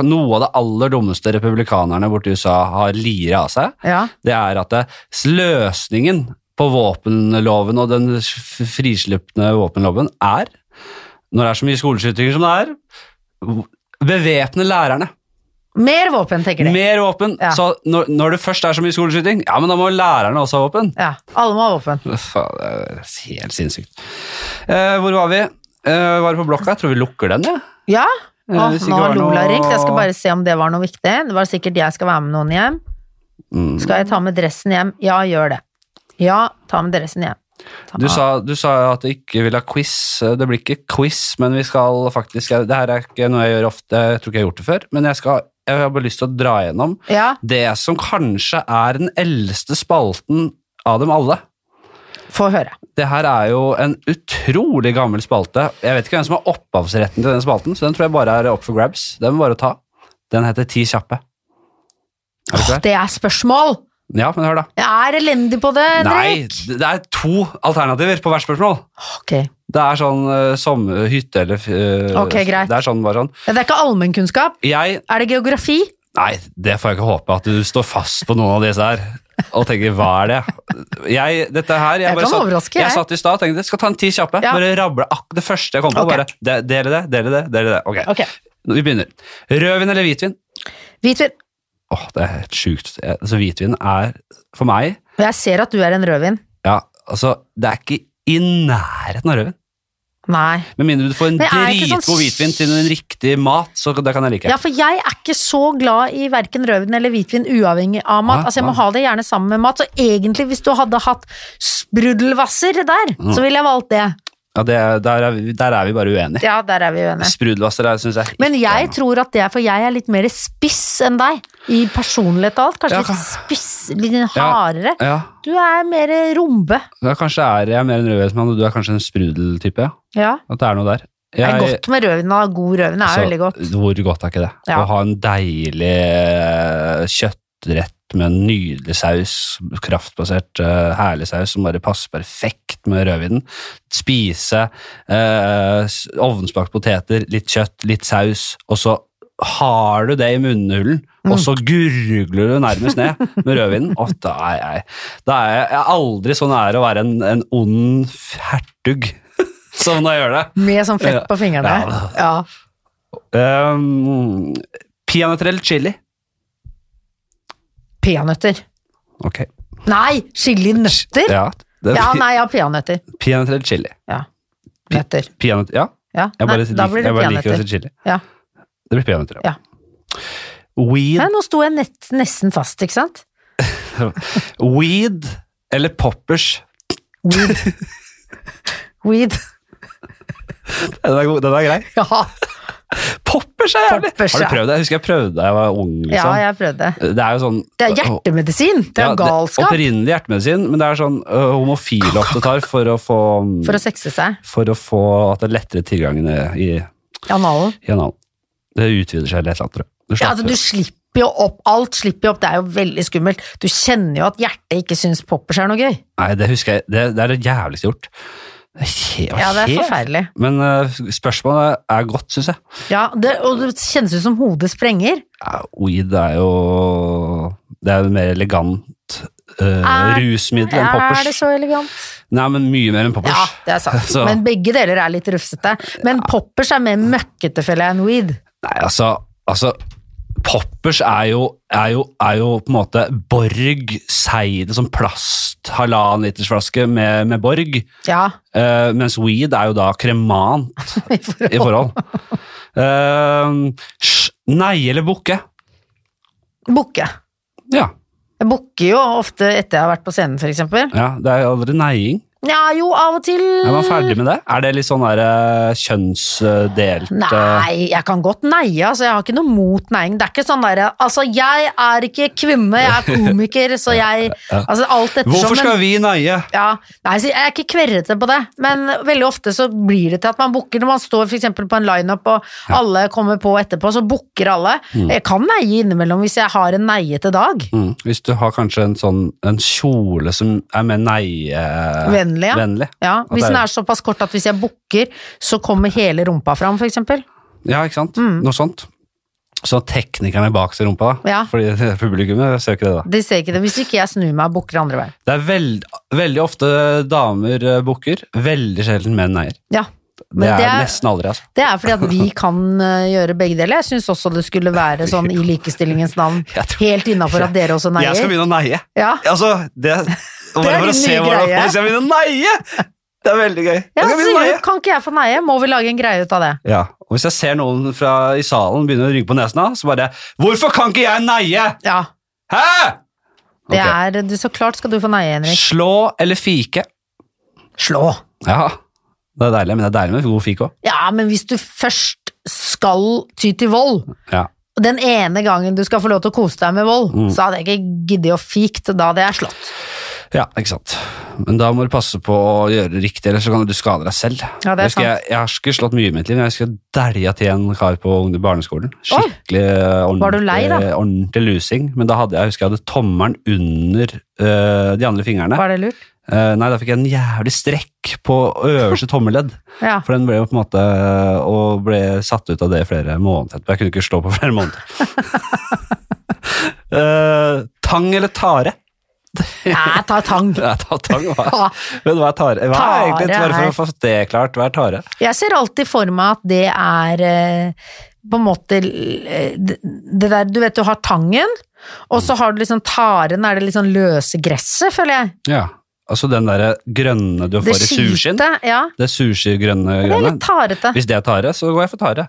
S1: Noe av det aller dummeste republikanerne borti USA har liret av seg,
S2: Ja.
S1: det er at det, løsningen på våpenloven og den f- frislippende våpenloven er, når det er så mye skoleskytinger som det er, bevæpne lærerne.
S2: Mer våpen, tenker de.
S1: Mer våpen.
S2: Ja.
S1: Så når, når det først er så mye skoleskyting, ja, men da må lærerne også ha våpen.
S2: Ja, alle må ha våpen.
S1: Faen, det er helt sinnssykt. Eh, hvor var vi? Eh, var det på blokka? Jeg tror vi lukker den, jeg.
S2: Ja.
S1: Eh,
S2: Åh,
S1: hvis ikke
S2: nå har
S1: det var
S2: Lola
S1: noe-
S2: ringt. Jeg skal bare se om det var noe viktig. Det var sikkert jeg skal være med noen hjem.
S1: Mm.
S2: Skal jeg ta med dressen hjem? Ja, gjør det. Ja, ta med dressen hjem. Ta-
S1: Du, sa, du sa at du ikke vil ha quiz. Eh, Det blir ikke quiz, men vi skal faktisk Det her er ikke noe jeg gjør ofte, jeg tror ikke jeg har gjort det før, men jeg, skal, jeg har bare lyst til å dra gjennom
S2: Ja,
S1: det som kanskje er den eldste spalten av dem alle.
S2: få høre.
S1: Det her er jo en utrolig gammel spalte. Jeg vet ikke hvem som har opphavsretten til den spalten, så den tror jeg bare er up for grabs. Den må bare ta. Den heter Ti kjappe. Er du
S2: Åh,
S1: klar?
S2: det er spørsmål!
S1: Ja, men hør, da.
S2: Jeg er elendig på det,
S1: Nei,
S2: Henrik.
S1: det er to alternativer på hvert spørsmål.
S2: Ok.
S1: Det er sånn eh, sommer, hytte eller eh,
S2: Ok, greit.
S1: Det er sånn, bare sånn.
S2: Ja, Det er ikke allmennkunnskap.
S1: Jeg
S2: Er det geografi?
S1: Nei, det får jeg ikke håpe at du står fast på noen av disse her. Og tenker, hva er det? Jeg, dette her, jeg,
S2: Jeg
S1: bare
S2: kan overraske,
S1: satt, jeg
S2: jeg.
S1: satt i stad og tenkte skal ta en ti kjappe.
S2: Ja.
S1: Bare rable ak det første jeg kom på.
S2: Ok.
S1: Bare, de, dele det, dele det, dele det. Ok,
S2: Ok.
S1: Vi begynner. Rødvin eller hvitvin?
S2: Hvitvin.
S1: Åh, det er helt sjukt. Jeg- Altså, hvitvin er for meg
S2: Og jeg ser at du er en rødvin.
S1: ja, altså, Det er ikke i nærheten av rødvin.
S2: Nei.
S1: Med mindre du får en
S2: Men er det ikke
S1: dritgod
S2: sånn-
S1: hvitvin til en riktig mat, så det kan jeg like.
S2: Ja, for jeg er ikke så glad i verken rødvin eller hvitvin uavhengig av mat.
S1: Nei,
S2: altså, jeg må
S1: nei.
S2: ha det gjerne sammen med mat. Så egentlig, hvis du hadde hatt sprudelvasser der,
S1: Mm.
S2: så ville jeg valgt det.
S1: Ja, det, der, er vi, der er vi bare uenige.
S2: Ja, der er vi uenige.
S1: Sprudelvasser er, syns jeg.
S2: Men
S1: ikke er
S2: jeg
S1: noe.
S2: tror at det er for jeg er litt mer spiss enn deg. I personlighet og alt. Kanskje
S1: Ja,
S2: litt spiss, litt hardere.
S1: Ja,
S2: Du er mer rombe.
S1: da kanskje er jeg mer en rødhetsmann, og du er kanskje en sprudeltype. Ja.
S2: Ja.
S1: At det er noe der.
S2: Det
S1: Jeg-
S2: er godt med rødvin, og god rødvin er
S1: altså,
S2: veldig godt.
S1: Hvor godt er ikke det?
S2: Ja.
S1: Å ha en deilig eh, kjøttrett med en nydelig saus, kraftbasert, eh, herlig saus som bare passer perfekt med rødvinen. Spise eh, s- ovnsbakt poteter, litt kjøtt, litt saus, og så har du det i munnhulen,
S2: Mm.
S1: og så gurgler du nærmest ned med rødvinen. Å, da er jeg, da er jeg, jeg er aldri så nær å være en, en ond hertug som når jeg gjør det.
S2: Med sånn fett på fingrene.
S1: Ja.
S2: Ja.
S1: Um, Peanøtter eller chili?
S2: Peanøtter.
S1: Ok.
S2: Nei, chilinøtter!
S1: Ja, det,
S2: Ja, nei, ja, peanøtter.
S1: Peanøtter eller chili?
S2: Ja. Nøtter.
S1: Peanøtter, ja.
S2: Ja,
S1: Jeg bare,
S2: nei, da
S1: lik-
S2: blir det
S1: jeg bare liker å si
S2: peanøtter.
S1: chili.
S2: Ja.
S1: Det blir peanøtter,
S2: Ja. Nei,
S1: Weed,
S2: nå sto jeg nett, nesten fast, ikke sant?
S1: weed eller poppers?
S2: Weed. Weed.
S1: Den er, god, den er grei.
S2: Ja,
S1: Poppers er jævlig!
S2: Poppers,
S1: Har
S2: ja.
S1: du prøvd det? Jeg husker jeg prøvde da jeg var ung.
S2: ja,
S1: Liksom.
S2: jeg prøvde.
S1: Det er jo sånn
S2: Det er hjertemedisin! Det
S1: Ja,
S2: er galskap
S1: Opprinnelig hjertemedisin, men det er sånn øh, homofile ofte tar for å få um,
S2: for å sexe seg.
S1: For å få at det er lettere tilgangen i, i
S2: i Analen.
S1: i analen. Det utvider seg litt, tror jeg. Du
S2: Ja, altså,
S1: slapper-
S2: du slipper slipper jo opp, alt slipper jo opp, det er jo veldig skummelt. Du kjenner jo at hjertet ikke syns poppers er noe gøy.
S1: Nei, det husker jeg. Det, det er det jævligste gjort. Det er he-
S2: Ja, det er
S1: helt-
S2: forferdelig.
S1: Men eh, spørsmålet er godt, syns jeg.
S2: Ja, det, og det kjennes ut som hodet sprenger.
S1: Ja, Weed er jo Det er jo en mer elegant eh,
S2: Er-
S1: rusmiddel enn
S2: Er det
S1: poppers.
S2: så elegant?
S1: Nei, men mye mer enn
S2: Ja,
S1: poppers.
S2: det er sant.
S1: Så-
S2: Men begge deler er litt rufsete. Men poppers er mer møkkete, føler jeg, enn weed.
S1: Nei, altså, altså Poppers er jo, er, jo, er jo på en måte Borg seide, sånn plast halvannen liters flaske med, med Borg.
S2: Ja,
S1: eh, mens weed er jo da kremant
S2: i forhold.
S1: i forhold. Eh, sj- nei eller bukke.
S2: Bukke.
S1: Ja,
S2: Jeg bukker jo ofte etter jeg har vært på scenen, for eksempel.
S1: ja, det er jo aldri neiing.
S2: Ja, jo, av og til.
S1: Er man ferdig med det? Er det litt sånn der eh, kjønnsdelt eh,
S2: Nei, jeg kan godt neie, altså jeg har ikke noe mot neiing. Det er ikke sånn derre Altså, jeg er ikke kvinne, jeg er komiker, så jeg Altså, alt ettersom
S1: Hvorfor skal vi neie?
S2: Ja, nei, så Jeg er ikke kverrete på det, men veldig ofte så blir det til at man booker når man står for eksempel på en lineup og alle kommer på etterpå, så booker alle. Jeg kan neie innimellom hvis jeg har en neiete dag.
S1: Mm. Hvis du har kanskje en sånn en kjole som er mer nei-vennlig.
S2: Vennlig, ja. ja.
S1: At
S2: Hvis
S1: det er-
S2: den er såpass kort at hvis jeg booker, så kommer hele rumpa fram, for eksempel.
S1: Ja, ikke sant?
S2: Mm.
S1: Noe sånt. Så teknikerne bak til rumpa, da.
S2: Ja.
S1: Fordi publikummet ser jo ikke det, da.
S2: De ser ikke det hvis ikke jeg snur meg og booker andre veien.
S1: Det er veld, veldig ofte damer eh, booker, veldig sjelden menn eier.
S2: Ja.
S1: Det
S2: Men
S1: er
S2: det er,
S1: nesten aldri, altså.
S2: det er fordi at vi kan eh, gjøre begge deler. Jeg syns også det skulle være sånn i likestillingens navn.
S1: Jeg tror-
S2: Helt innafor at dere også
S1: Jeg skal
S2: neier.
S1: begynne å neie.
S2: Ja.
S1: Altså, det,
S2: Det er din nye greie.
S1: Jeg skal begynne å neie! Det er veldig gøy.
S2: Ja,
S1: Jeg skal begynne å neie.
S2: sier du, kan ikke jeg få neie? Må vi lage en greie ut av det?
S1: Ja, og Hvis jeg ser noen fra, i salen begynne å rynke på nesen, da, så bare 'Hvorfor kan ikke jeg neie?!'
S2: Ja,
S1: Hæ?!
S2: det
S1: Ok.
S2: er du, Så klart skal du få neie, Henrik.
S1: Slå eller fike?
S2: Slå!
S1: Ja, det er deilig, men det er deilig med god fike òg.
S2: Ja, men hvis du først skal ty til vold,
S1: Ja.
S2: og den ene gangen du skal få lov til å kose deg med vold,
S1: Mm.
S2: så hadde jeg ikke giddet å fikt, da hadde jeg slått.
S1: ja, ikke sant. Men da må du passe på å gjøre det riktig, ellers så kan du skade deg selv.
S2: Ja, det er
S1: jeg, husker, jeg, jeg har ikke slått mye i mitt liv, men jeg husker jeg dælja til en kar på ung- barneskolen. Skikkelig eh, ordentlig,
S2: Var du lei, da?
S1: ordentlig lusing. Men da hadde jeg, jeg husker jeg hadde tommelen under eh, de andre fingrene.
S2: Var det lurt?
S1: Eh, nei, da fikk jeg en jævlig strekk på øverste tommelledd.
S2: Ja.
S1: For den ble jo på en måte eh, Og ble satt ut av det i flere måneder etterpå. Jeg kunne ikke slå på flere måneder. Eh, tang eller tare?
S2: Nei, ta tang.
S1: Ja, ta tang hva?
S2: Ja.
S1: Men hva er tare? Hva er
S2: Tare
S1: egentlig, bare for
S2: er-
S1: å få det klart, hva er tare?
S2: Jeg ser alltid for meg at det er eh, på en måte eh, det det der Du vet du har tangen, og så har du liksom taren, er det liksom løse gresset, føler jeg.
S1: Ja, altså den derre grønne du
S2: Det
S1: får i sushien.
S2: skite. Ja.
S1: Det sushi-grønne
S2: Det er
S1: grønne.
S2: litt tarete.
S1: Hvis det er tare, så går jeg for tare.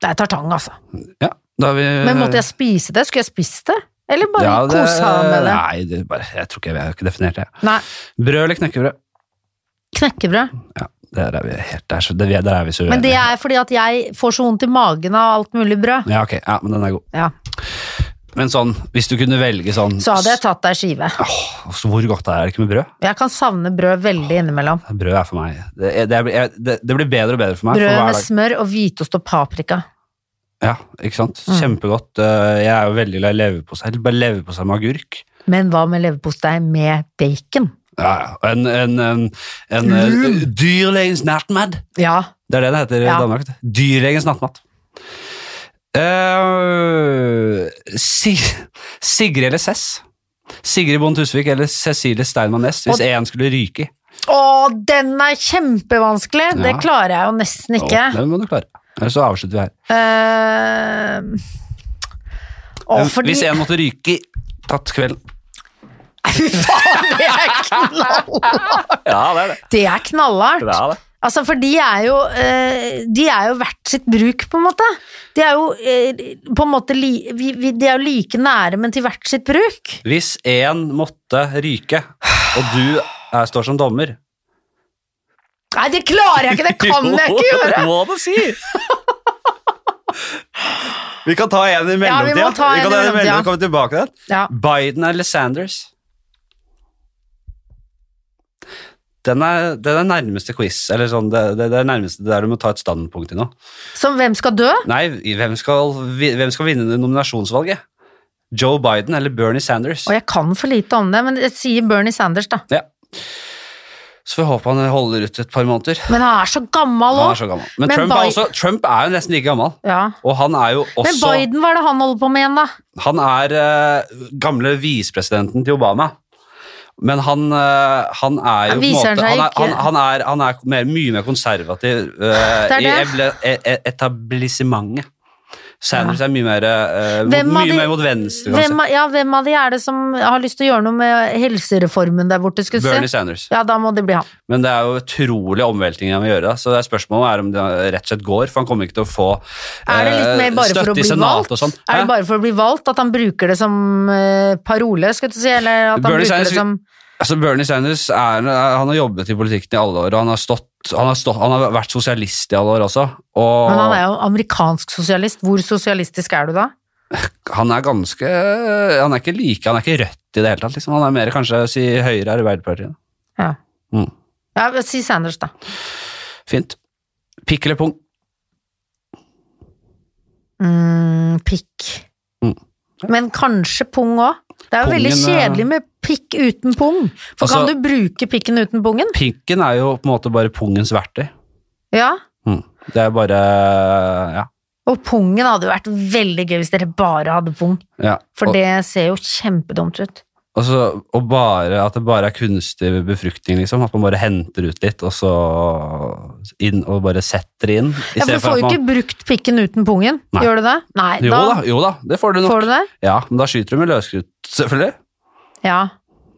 S2: Det er tartang, altså.
S1: Ja, da har vi
S2: Men måtte jeg spise det? Skulle jeg spist det? Eller bare
S1: Ja, det-
S2: kose meg med det?
S1: Nei, det, er bare, jeg tror ikke jeg, jeg har ikke definert det.
S2: Nei.
S1: Brød eller knekkebrød?
S2: Knekkebrød.
S1: Ja, der er vi helt der, så det, der er vi så
S2: Men det
S1: uenige.
S2: er fordi at jeg får så vondt i magen av alt mulig brød.
S1: Ja, ok. Ja, men den er god.
S2: Ja.
S1: Men sånn, hvis du kunne velge sånn
S2: Så hadde jeg tatt deg skive.
S1: Åh, så Hvor godt er det ikke med brød?
S2: Jeg kan savne brød veldig innimellom.
S1: Brød er for meg Det, er- det, er- jeg- det, det blir bedre og bedre for meg.
S2: Brød
S1: for hver
S2: med
S1: dag.
S2: smør og hvitost og paprika.
S1: Ja, ikke sant?
S2: Mm.
S1: Kjempegodt. Eh, Jeg er jo veldig glad i leverpostei. Eller Bare leverpostei med agurk.
S2: Men hva med leverpostei med bacon?
S1: Ja, ja. Og En, en, en, en
S2: Lun.
S1: eh, dyrlegens nattmad.
S2: Ja.
S1: Det er det det heter
S2: Ja.
S1: i Danmark. vet du. Dyrlegens nattmat. Eh, Sig Sigrid eller Cess? Sigrid Bonde Tusvik eller Cecilie Steinmann Næss, hvis
S2: Og-
S1: én skulle ryke i.
S2: Å, den er kjempevanskelig! Det
S1: Ja.
S2: klarer jeg jo nesten ikke.
S1: Å, Det må du klare. Eller så avslutter vi her.
S2: Eh, å,
S1: Men
S2: fordi
S1: Hvis en måtte ryke i tatt kvelden.
S2: Fy faen, det er knallhardt!
S1: Ja, det er det.
S2: Det er knallhardt. Altså, for de er jo eh, De er jo verdt sitt bruk, på en måte. De er jo eh, på en måte li, vi, vi, De er jo like nære, men til hvert sitt bruk.
S1: Hvis en måtte ryke, og du er, står som dommer
S2: Nei, det klarer jeg ikke! Det kan jeg ikke
S1: Jo,
S2: gjøre!
S1: Det må du si! Vi kan ta en i
S2: Ja, vi
S1: mellomtida.
S2: må ta en
S1: kan
S2: i
S1: ta
S2: mellomtida.
S1: mellom- komme tilbake til den.
S2: Ja.
S1: Biden eller Sanders? Den er, det er den nærmeste quiz, eller sånn, det, det, det er nærmeste der du må ta et standpunkt i noe.
S2: Som hvem skal dø?
S1: Nei, hvem skal, vi- hvem skal vinne det nominasjonsvalget? Joe Biden eller Bernie Sanders?
S2: Og jeg kan for lite om det, men jeg sier Bernie Sanders, da.
S1: Ja. Så vi håper han holder ut et par måneder.
S2: Men han er så gammel
S1: Han er
S2: òg!
S1: så gammel. Men,
S2: Men
S1: Trump, er
S2: Bi-
S1: også, Trump er jo nesten like gammel.
S2: Ja.
S1: Og han er jo
S2: Men
S1: også
S2: Biden, hva er det han holder på med igjen, da?
S1: Han er eh, gamle visepresidenten til Obama. Men han, eh, han er jo på
S2: Han
S1: en
S2: viser
S1: måte,
S2: seg
S1: han, er,
S2: ikke.
S1: han, han er, han er mer, mye mer konservativ eh,
S2: Det er
S1: i
S2: det.
S1: eble, e- e- etablissementet. Sanders er mye mer, eh, mot,
S2: Hvem av
S1: mye
S2: de-
S1: mer mot venstre. kan
S2: Hvem, av- ja, hvem av de er det som har lyst til å gjøre noe med helsereformen der
S1: man
S2: borte?
S1: si.
S2: skulle
S1: Bernie
S2: jeg si?
S1: Sanders.
S2: Ja, da må det bli han.
S1: Men det er jo utrolig omveltning han vil gjøre. Så det er spørsmålet er om det rett og slett går, for han kommer ikke til å få
S2: Er det litt
S1: eh,
S2: mer bare for å
S1: støtte i
S2: bli
S1: Senatet
S2: valgt?
S1: og sånn.
S2: Er
S1: Hæ?
S2: det bare for å bli valgt at han bruker det som eh, parole, skal du si, eller at han
S1: Bernie
S2: bruker
S1: Sanders-
S2: det som
S1: Altså Bernie Sanders er, han har jobbet i politikken i alle år, og han har, stått, han, har stått, han har vært sosialist i alle år også. Og
S2: Men han er jo amerikansk sosialist. Hvor sosialistisk er du da?
S1: han er ganske Han er ikke like, han er ikke rødt i det hele tatt. Liksom. Han er mer kanskje si Høyre Arbeiderpartiet.
S2: Ja,
S1: Mm.
S2: ja si Sanders, da.
S1: Fint. Pikk eller pung?
S2: Mm, pikk.
S1: Mm.
S2: Men kanskje pung òg. Det er jo veldig
S1: Pungen er-
S2: kjedelig med pikk uten pung. For
S1: Altså-
S2: kan du bruke pikken uten pungen?
S1: Pinken er jo på en måte bare pungens verktøy.
S2: Ja.
S1: Mm. Det er bare Ja.
S2: Og pungen hadde jo vært veldig gøy hvis dere bare hadde pung.
S1: ja.
S2: For
S1: Og-
S2: det ser jo kjempedumt ut.
S1: Og, så, og bare, at det bare er kunstig befruktning, liksom. At man bare henter ut litt, og så inn, og bare setter det inn. i
S2: Ja, for
S1: stedet
S2: du får
S1: at
S2: jo
S1: man-
S2: ikke brukt pikken uten pungen.
S1: Nei.
S2: Gjør du det? Nei,
S1: Jo da, jo da, det får du nok.
S2: får du det.
S1: Ja, men da skyter du med løsskrutt, selvfølgelig.
S2: Ja.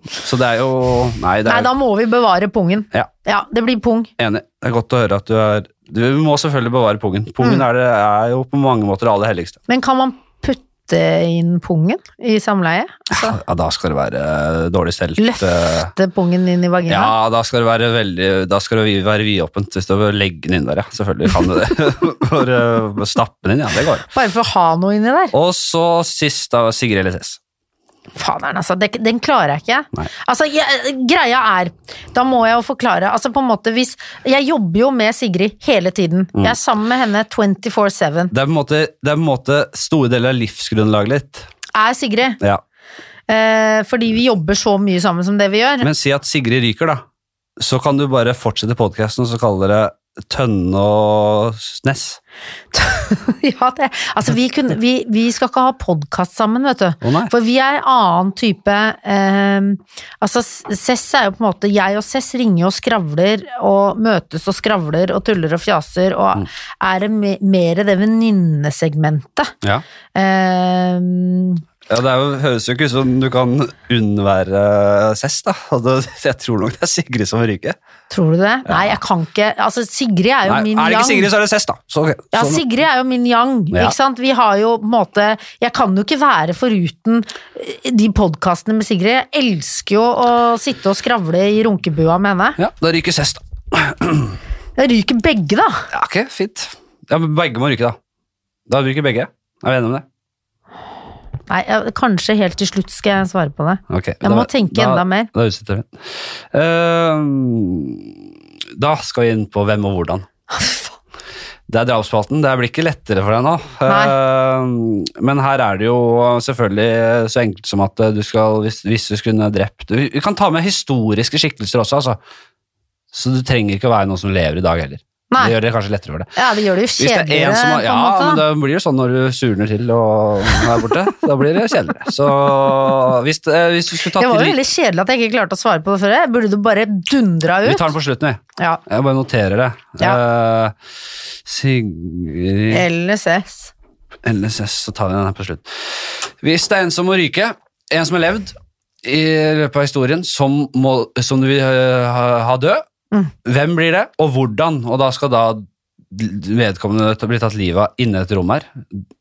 S1: Så det er jo Nei, det
S2: Nei,
S1: er
S2: da må vi bevare pungen.
S1: Ja.
S2: det blir pung.
S1: enig. Det er godt å høre at du er Du må selvfølgelig bevare pungen. Pungen
S2: Mm.
S1: er, det, er jo på mange måter det aller helligste.
S2: Men kan man putte inn pungen i samleie? Altså,
S1: Ja, da skal det være eh, dårlig stelt. eh,
S2: løfte pungen inn i vagina?
S1: Ja, da skal det være veldig Da skal det vi- være vidåpent hvis du legger den inn der, ja. Selvfølgelig kan du det. Bare eh, stappe den inn, ja. Det går.
S2: Bare for å ha noe inni der?
S1: Og så sist da, Sigrid LSS.
S2: Faderen, altså. det- Den klarer jeg ikke.
S1: Nei.
S2: Altså, jeg, greia er Da må jeg jo forklare. Altså, på en måte, hvis Jeg jobber jo med Sigrid hele tiden.
S1: Mm.
S2: Jeg er sammen med henne 24-7.
S1: Det er på en måte, det er på en måte store deler av livsgrunnlaget litt.
S2: Er Sigrid.
S1: Ja.
S2: Eh, fordi vi jobber så mye sammen som det vi gjør.
S1: Men si at Sigrid ryker, da. Så kan du bare fortsette podkasten og så kalle dere Tønne og Snes.
S2: ja, det. Altså, vi, kunne, vi, vi skal ikke ha podkast sammen, vet du.
S1: Å nei.
S2: For vi er annen type eh, Altså, Cess er jo på en måte Jeg og Cess ringer og skravler og møtes og skravler og tuller og fjaser
S1: Mm.
S2: og er det me- mer det venninnesegmentet.
S1: Ja.
S2: Eh,
S1: ja, det er jo, høres jo ikke ut som du kan unnvære Sess, da. Og det, jeg tror nok det er Sigrid som ryker.
S2: tror du det? Nei, jeg kan ikke Altså, Sigrid er jo
S1: Nei,
S2: min
S1: er det
S2: yang.
S1: ikke Sigrid, så er det Sess, da. Så, ok,
S2: Ja,
S1: sånn.
S2: Sigrid er jo min yang,
S1: Ja.
S2: ikke sant? Vi har jo på en måte Jeg kan jo ikke være foruten eh, de podkastene med Sigrid. Jeg elsker jo å sitte og skravle i runkebua med henne.
S1: ja, da ryker Sess, da.
S2: Jeg ryker begge, da!
S1: Ja, ok, fint. Ja, men begge må ryke, da. Da ryker begge. Er vi enige om det?
S2: Nei, jeg, kanskje helt til slutt skal jeg svare på det.
S1: Ok,
S2: Jeg må tenke enda mer.
S1: Da utsetter vi. Ehm, da skal vi inn på hvem og hvordan. Det er drapsspalten. Det blir ikke lettere for deg nå. Ehm, men her er det jo selvfølgelig så enkelt som at eh, du skal, hvis, hvis du skulle drept Vi vi kan ta med historiske skikkelser også, altså. Så du trenger ikke å være noen som lever i dag heller.
S2: Nei.
S1: Det gjør det kanskje lettere for deg.
S2: Ja, det gjør det jo
S1: Hvis det er en
S2: kjedeligere,
S1: som har,
S2: på
S1: ja,
S2: en måte.
S1: men
S2: Da.
S1: det blir jo sånn når du surner til og er borte. Da blir det kjedeligere. Så hvis, eh, hvis du skulle tatt
S2: Det var
S1: de-
S2: jo veldig kjedelig at jeg ikke klarte å svare på det før. Jeg burde du bare dundra
S1: Vi
S2: ut.
S1: tar den på slutten, vi.
S2: Ja.
S1: Jeg bare noterer det.
S2: Ja.
S1: Eh, Sigrid
S2: LSS.
S1: LSS, så tar vi den her på slutt. Hvis det er en som må ryke, en som har levd i løpet av historien, som, må, som du vil eh, ha, ha død,
S2: Mm.
S1: hvem blir det, og hvordan? Og da skal da vedkommende ta- bli tatt livet av inne i et rom her.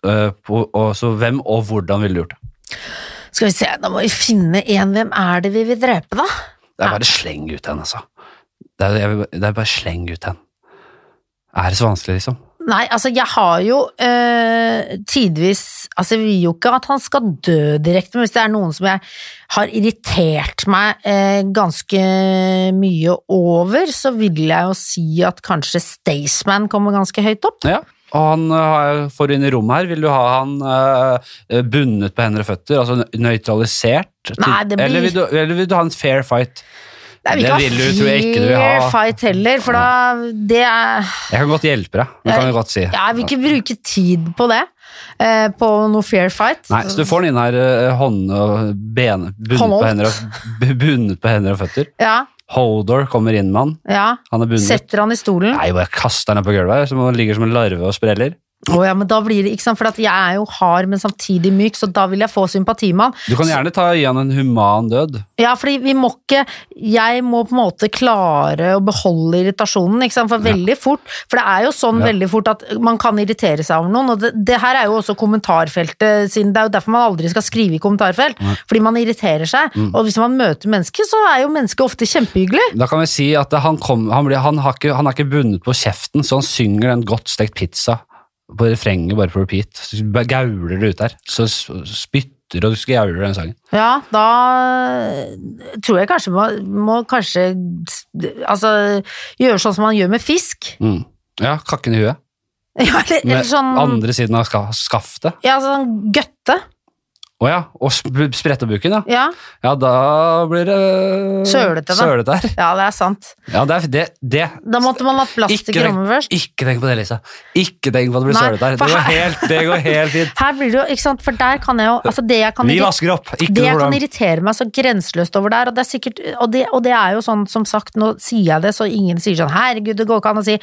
S1: Eh, på, og, så hvem og hvordan ville du gjort det?
S2: Skal vi se, da må vi finne en. Hvem er det vi vil drepe, da?
S1: Det er bare sleng ut den, altså. Det er, jeg vil- det er bare sleng ut den. Er det så vanskelig, liksom?
S2: Nei, altså jeg har jo eh, tidvis Altså jeg vil jo ikke at han skal dø direkte, men hvis det er noen som jeg har irritert meg eh, ganske mye over, så vil jeg jo si at kanskje Staysman kommer ganske høyt opp.
S1: Ja. Og han eh, har- får du inn i rommet her. Vil du ha han eh, bundet på hender og føtter? Altså nø- nøytralisert? til-
S2: Nei, det blir-
S1: eller, vil du, eller vil du ha en fair fight?
S2: Nei, vi
S1: Det
S2: kan
S1: vil du- tror jeg ikke du vil
S2: fair
S1: ha.
S2: fight heller, for da Det er
S1: Jeg kan godt hjelpe deg. Det kan jeg godt si.
S2: Ja, jeg vil ikke bruke tid på det. eh, på noe fair fight.
S1: Nei, så du får den inn her eh, hånd og ben, bundet, på
S2: Håndholdt.
S1: hender og, bundet på hender og føtter.
S2: Ja,
S1: Hodor kommer inn med han.
S2: ja.
S1: Han er bundet.
S2: Setter han i stolen.
S1: Nei, bare kaster han ned på gulvet her, som han ligger som en larve og spreller.
S2: Å ja, men da blir det, ikke sant, for at jeg er jo hard, men samtidig myk, så da vil jeg få sympati med han.
S1: Du kan gjerne ta gi han en human død.
S2: Ja, fordi vi må ikke Jeg må på en måte klare å beholde irritasjonen, ikke sant, for veldig fort For det er jo sånn
S1: Ja.
S2: veldig fort at man kan irritere seg over noen, og det, det her er jo også kommentarfeltet siden Det er jo derfor man aldri skal skrive i kommentarfelt, fordi man irriterer seg. Og hvis man møter mennesker, så er jo mennesket ofte kjempehyggelig.
S1: Da kan vi si at det- han, kom, han, blir, han, har ikke, han er ikke bundet på kjeften, så han synger den godt stekt pizza på refrenget bare på repeat. Så bare gauler det ut der. Så s- spytter og gauler den sangen.
S2: Ja, da tror jeg kanskje man må kanskje Altså gjøre sånn som man gjør med fisk.
S1: Mm. Ja, kakken i huet.
S2: Ja, eller,
S1: Med
S2: eller sånn
S1: andre siden av ska, skaftet.
S2: Ja, sånn gøtte.
S1: Å ja, og sp- sprette buken, ja.
S2: Ja.
S1: Ja, da blir det
S2: Sølete, da.
S1: Sølete her.
S2: ja, det er sant.
S1: Ja, det, er- det, det
S2: Da måtte man ha
S1: Ikke
S2: plastikk i
S1: tenk-
S2: rommet først.
S1: Ikke tenk på det, Lisa. Ikke tenk på at det blir
S2: Nei,
S1: sølete her.
S2: for
S1: Det går
S2: her-
S1: helt, det går helt fint.
S2: Her blir det jo, ikke sant, for der kan jeg jo Altså, det jeg kan
S1: Vi
S2: irri-
S1: vasker opp. Ikke
S2: det
S1: noe
S2: jeg kan
S1: problem.
S2: irritere meg så grenseløst over der, og det er sikkert og det, og det er jo sånn, som sagt, nå sier jeg det så ingen sier sånn herregud, det går ikke an å si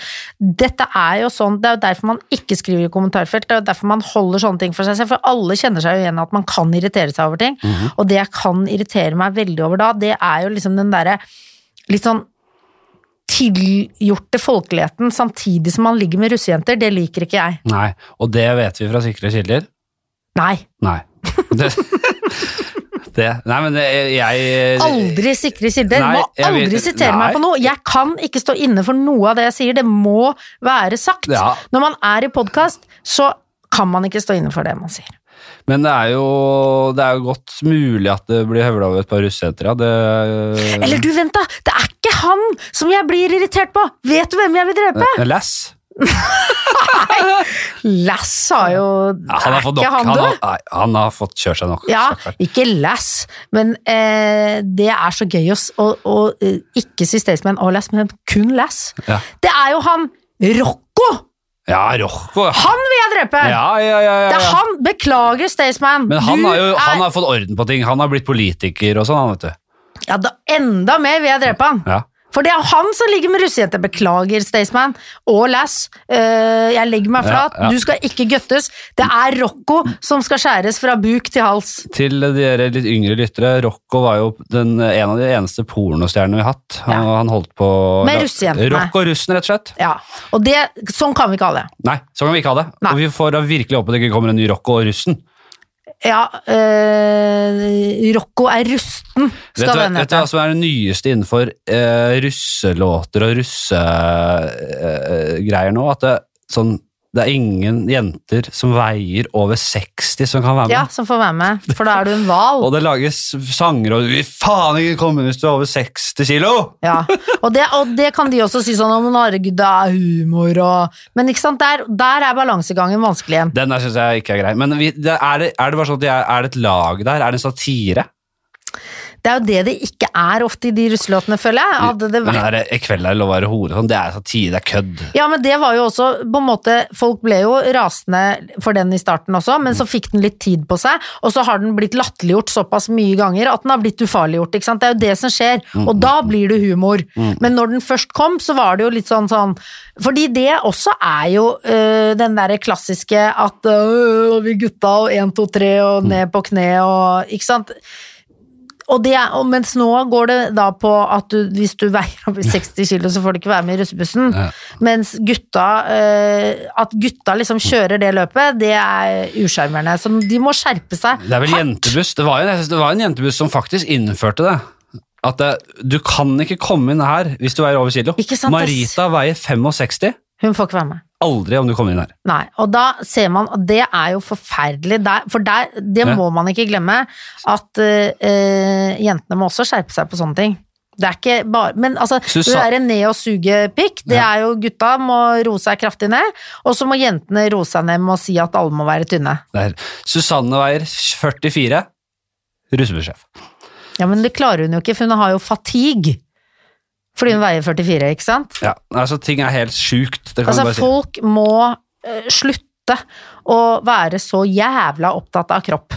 S2: Dette er jo sånn, det er jo derfor man ikke skriver i kommentarfelt, det er jo derfor man holder sånne ting for seg selv, for alle kjenner seg jo igjen i at man kan irritere seg over ting,
S1: Mhm.
S2: og det jeg kan irritere meg veldig over da, det er jo liksom den derre litt sånn tilgjorte folkeligheten samtidig som man ligger med russejenter, det liker ikke jeg.
S1: Nei, og det vet vi fra sikre kilder.
S2: Nei.
S1: Nei. Det, det, nei, men det, jeg
S2: Aldri sikre kilder.
S1: Nei,
S2: må
S1: jeg
S2: aldri
S1: vil-
S2: sitere meg
S1: nei.
S2: på noe. Jeg kan ikke stå inne for noe av det jeg sier. Det må være sagt.
S1: Ja.
S2: Når man er i podkast, så kan man ikke stå inne for det man sier.
S1: Mm. Men det er jo, det er jo godt mulig at det blir høvla over et par russejenter, ja. Det,
S2: Eller du, vent da! Det er ikke han som jeg blir irritert på! Vet du hvem jeg vil drepe?
S1: Lass.
S2: Lass har jo
S1: Ja, han har
S2: Er
S1: fått
S2: ikke
S1: nok.
S2: han
S1: Han har,
S2: død?
S1: nei, han har fått kjørt seg nok.
S2: Ja,
S1: stakkar.
S2: ikke Lass, men eh, det er så gøy å, s- å, å eh, ikke si Staysman og Lass, men kun Lass.
S1: Ja.
S2: Det er jo han Rocco!
S1: ja, Rocco. Ja,
S2: Han vil jeg drepe!
S1: ja, ja. ja, ja.
S2: Det er han! Beklager, Staysman.
S1: Men han
S2: Du
S1: har jo han
S2: er-
S1: har fått orden på ting. Han har blitt politiker og sånn, han, vet du.
S2: Ja, da, enda mer vil jeg drepe han.
S1: Ja.
S2: For det er han som ligger med russejenter. Beklager, Staysman. Og Lass. Eh, jeg legger meg
S1: Ja,
S2: flat.
S1: ja.
S2: Du skal ikke guttes. Det er Rocco som skal skjæres fra buk til hals.
S1: Til dere litt yngre lyttere, Rocco var jo den, en av de eneste pornostjernene vi har hatt. Han,
S2: Ja.
S1: han holdt på
S2: Med russejentene.
S1: Rocco og russen, rett og slett.
S2: Ja, og det, Sånn kan vi ikke ha det.
S1: Nei, sånn kan vi ikke ha det.
S2: Nei.
S1: Og vi får da virkelig håpe det ikke kommer en ny Rocco og russen.
S2: Ja, eh, Rocco er rusten,
S1: Vet du,
S2: skal
S1: hva-
S2: den
S1: vet du hva
S2: hete.
S1: som er det nyeste innenfor eh, russelåter og russegreier eh, greier nå? At det, sånn, det er ingen jenter som veier over 60 som kan være med.
S2: Ja, som får være med, for da er du en hval.
S1: Og det lages sanger og Vi faen ikke komme hvis du er over 60 kilo!
S2: Ja, og det, og det kan de også si sånn om herregud, det er humor og Men ikke sant, der, der er balansegangen vanskelig igjen.
S1: Den der syns jeg ikke er grei. Men vi, det, er, det, er det bare sånn at det er, er det et lag der? Er det en satire?
S2: Det er jo det det ikke er ofte i de russelåtene, føler jeg. Hadde det
S1: Den
S2: vært
S1: der, I kveld er det lov å være hore. Sånn, det er satire, det er kødd.
S2: ja, men det var jo også på en måte Folk ble jo rasende for den i starten også, men så fikk den litt tid på seg, og så har den blitt latterliggjort såpass mye ganger at den har blitt ufarliggjort, ikke sant. Det er jo det som skjer, og da blir det humor. Men når den først kom, så var det jo litt sånn sånn Fordi det også er jo øh, den derre klassiske at øh, vi gutta og én, to, tre og ned på kne og Ikke sant. Og det er, og mens nå går det da på at du, hvis du veier over 60 kilo, så får du ikke være med i russebussen.
S1: Ja.
S2: Mens gutta eh, At gutta liksom kjører det løpet, det er usjarmerende. Så de må skjerpe seg.
S1: Det er vel
S2: hardt.
S1: jentebuss. Det var, jo, jeg synes det var en jentebuss som faktisk innførte det. At det, du kan ikke komme inn her hvis du veier over kilo.
S2: Ikke sant, ass.
S1: Marita veier 65.
S2: Hun får ikke være med.
S1: Aldri om du kommer inn her.
S2: Nei, og da ser man, og det er jo forferdelig, der, for der, det
S1: Ja.
S2: må man ikke glemme, at eh, eh, jentene må også skjerpe seg på sånne ting. Det er ikke bare, men altså,
S1: Susa-
S2: det er en ned og suge pikk, det
S1: Ja.
S2: er jo gutta må roe seg kraftig ned, og så må jentene roe seg ned med å si at alle må være tynne.
S1: Der. Susanne Weier, 44, russebudsjef.
S2: Ja, men det klarer hun jo ikke, for hun har jo fatigue. Fordi hun veier 44, ikke sant?
S1: Ja, altså ting er helt sjukt. Det kan du
S2: Altså,
S1: bare si.
S2: folk må eh, slutte å være så jævla opptatt av kropp.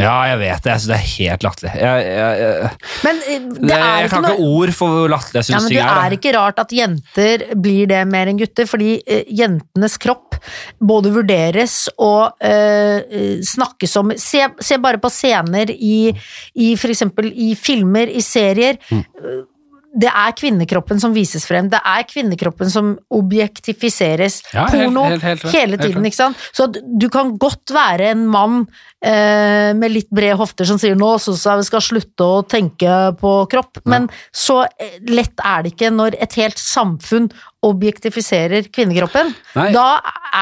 S1: Ja, jeg vet det. Jeg synes det er helt latterlig. Jeg, jeg, jeg,
S2: Men eh, det
S1: jeg,
S2: er
S1: kan
S2: ikke noe...
S1: ikke ord for hvor latterlig jeg
S2: Ja,
S1: synes
S2: men
S1: ting
S2: Det
S1: er. da.
S2: er ikke rart at jenter blir det mer enn gutter, fordi eh, jentenes kropp både vurderes og eh, eh, snakkes om. Se, se bare på scener i, i f.eks. i filmer, i serier.
S1: Mm.
S2: Eh, Det er kvinnekroppen som vises frem. Det er kvinnekroppen som objektifiseres.
S1: Ja, helt-
S2: Porno
S1: helt- helt klart,
S2: hele
S1: helt
S2: tiden,
S1: klart.
S2: ikke sant. Så at du kan godt være en mann eh, med litt brede hofter som sier nå syns jeg vi skal slutte å tenke på kropp, men så eh, lett er det ikke når et helt samfunn objektifiserer kvinnekroppen.
S1: Nei.
S2: Da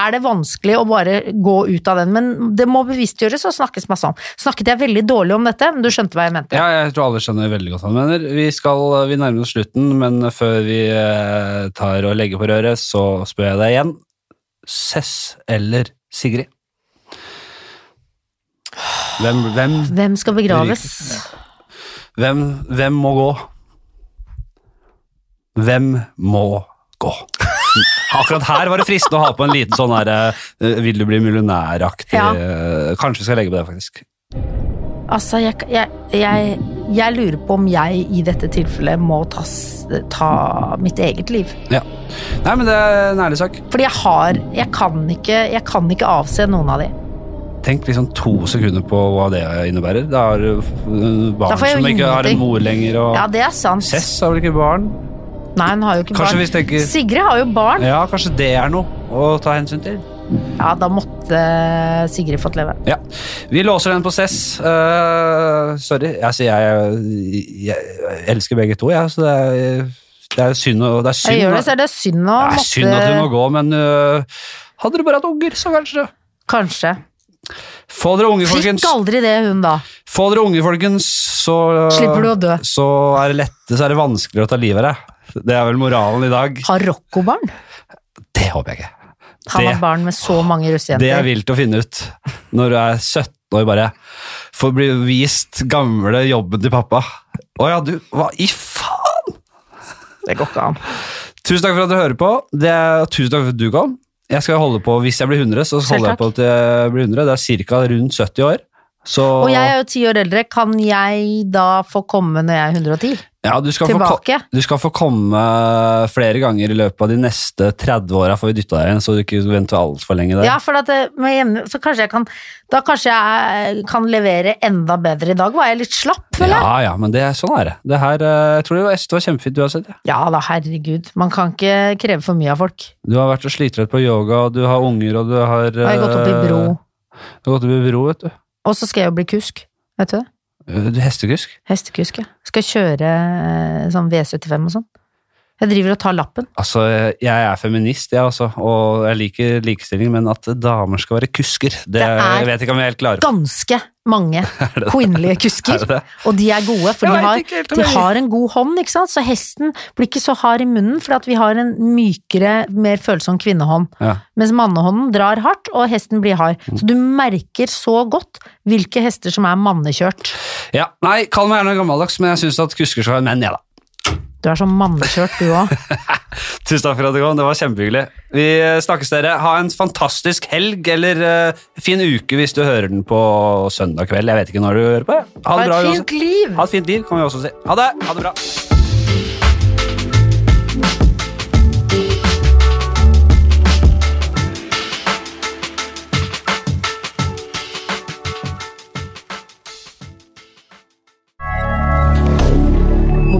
S2: er det vanskelig å bare gå ut av den, men det må bevisstgjøres og snakkes masse om. Snakket jeg veldig dårlig om dette, men du skjønte hva jeg mente.
S1: Ja, jeg tror alle skjønner veldig godt hva han mener. Vi, skal, vi nærmer oss slutten, men før vi eh, tar og legger på røret, så spør jeg deg igjen. Sess eller Sigrid? Hvem, hvem,
S2: Hvem skal begraves?
S1: hvem, hvem må gå? Hvem må gå? Akkurat her var det fristende å ha på en liten sånn her eh, Vil du bli millionæraktig
S2: Ja.
S1: eh, Kanskje vi skal legge på det, faktisk.
S2: Altså, jeg, jeg, jeg, jeg lurer på om jeg i dette tilfellet må ta, s- ta mitt eget liv.
S1: Ja. Nei, men det er en ærlig sak.
S2: Fordi jeg har Jeg kan ikke, jeg kan ikke avse noen av de.
S1: Tenk liksom to sekunder på hva det innebærer. Da har du f-
S2: Da
S1: barn
S2: får jeg jo
S1: som ikke har en
S2: ingenting.
S1: mor lenger, og
S2: Ja, det er sant.
S1: Cess har vel ikke barn?
S2: Nei, hun har jo ikke
S1: Kanskje
S2: barn.
S1: hvis tenker
S2: Sigrid har jo barn.
S1: Ja, kanskje det er noe å ta hensyn til.
S2: Ja, da måtte eh, Sigrid fått leve.
S1: Ja. Vi låser den på Cess. Eh, sorry. Altså, jeg, jeg elsker begge to, jeg, så det er, det er synd å Det er synd,
S2: Jeg gjør det,
S1: da.
S2: så er det synd
S1: det
S2: å
S1: er
S2: måtte
S1: synd at hun må gå, men eh, hadde du bare hatt unger, så kanskje.
S2: Kanskje.
S1: Få dere unge,
S2: Fikk
S1: folkens.
S2: aldri det, hun, da.
S1: Få dere unge, folkens, så
S2: Slipper du å dø.
S1: Så er det lette, så er det vanskeligere å ta livet av deg. Det er vel moralen i dag.
S2: Har Rocco barn?
S1: Det håper jeg ikke.
S2: Han
S1: Det-
S2: har barn med så mange
S1: Det er
S2: russejenter.
S1: vilt å finne ut når du er 17 år, bare får bli vist gamle jobben til pappa. Å ja, du Hva i faen?!
S2: Det går ikke an.
S1: Tusen takk for at du hører på. Det er, tusen takk for at du kom. Jeg skal holde på, Hvis jeg blir 100, så
S2: Selv
S1: holder jeg på til jeg blir 100. Det er ca. rundt 70 år. Så
S2: Og jeg er jo ti år eldre. Kan jeg da få komme når jeg er 110?
S1: ja, du skal få ko-
S2: Tilbake?
S1: Du skal få komme flere ganger i løpet av de neste 30 åra, får vi dytta deg inn, så du ikke venter altfor lenge der.
S2: Ja, for at det, med jevne, så kanskje jeg kan Da kanskje jeg eh, kan levere enda bedre i dag. Var jeg litt slapp, føler jeg?
S1: ja, ja, men det, er- sånn er det. det her, eh, jeg tror det var, jeg synes det var kjempefint du har sett. Ja.
S2: Ja da, herregud. Man kan ikke kreve for mye av folk.
S1: Du har vært og slittrett på yoga, og du har unger, og du har
S2: Og jeg har gått opp i bro.
S1: Eh. Du har gått opp i bro, vet du.
S2: Og så skal jeg jo bli kusk. Vet du det?
S1: Eh, Du er hestekusk?
S2: Hestekusk, ja. Skal kjøre eh, sånn V75 og sånn. Jeg driver og tar lappen.
S1: Altså, jeg er feminist, jeg også, og jeg liker likestilling, men at damer skal være kusker, det,
S2: Det er
S1: jeg vet ikke om jeg er helt klarer på.
S2: Ganske mange
S1: det?
S2: kvinnelige
S1: Er
S2: kusker.
S1: det det?
S2: Og de er gode,
S1: Jeg
S2: for de
S1: vet
S2: har,
S1: ikke helt om
S2: de
S1: jeg-
S2: har en god hånd, ikke sant? Så hesten blir ikke så hard i munnen, fordi at vi har en mykere, mer følsom kvinnehånd.
S1: Ja.
S2: Mens mannehånden drar hardt, og hesten blir hard. Så du merker så godt hvilke hester som er mannekjørt.
S1: ja. Nei, kall meg gjerne gammeldags, men jeg syns at kusker skal være menn, jeg, da.
S2: Du er så mannekjørt, du òg.
S1: Tusen takk for at du kom, det var kjempehyggelig. Vi eh, snakkes dere. Ha en fantastisk helg, eller eh, fin uke hvis du hører den på søndag kveld. Jeg vet ikke når du hører på. jeg. Ha
S2: Ha
S1: det bra,
S2: et
S1: Johansen.
S2: fint liv!
S1: Ha et fint liv, kan vi også si. Ha det! Ha det bra.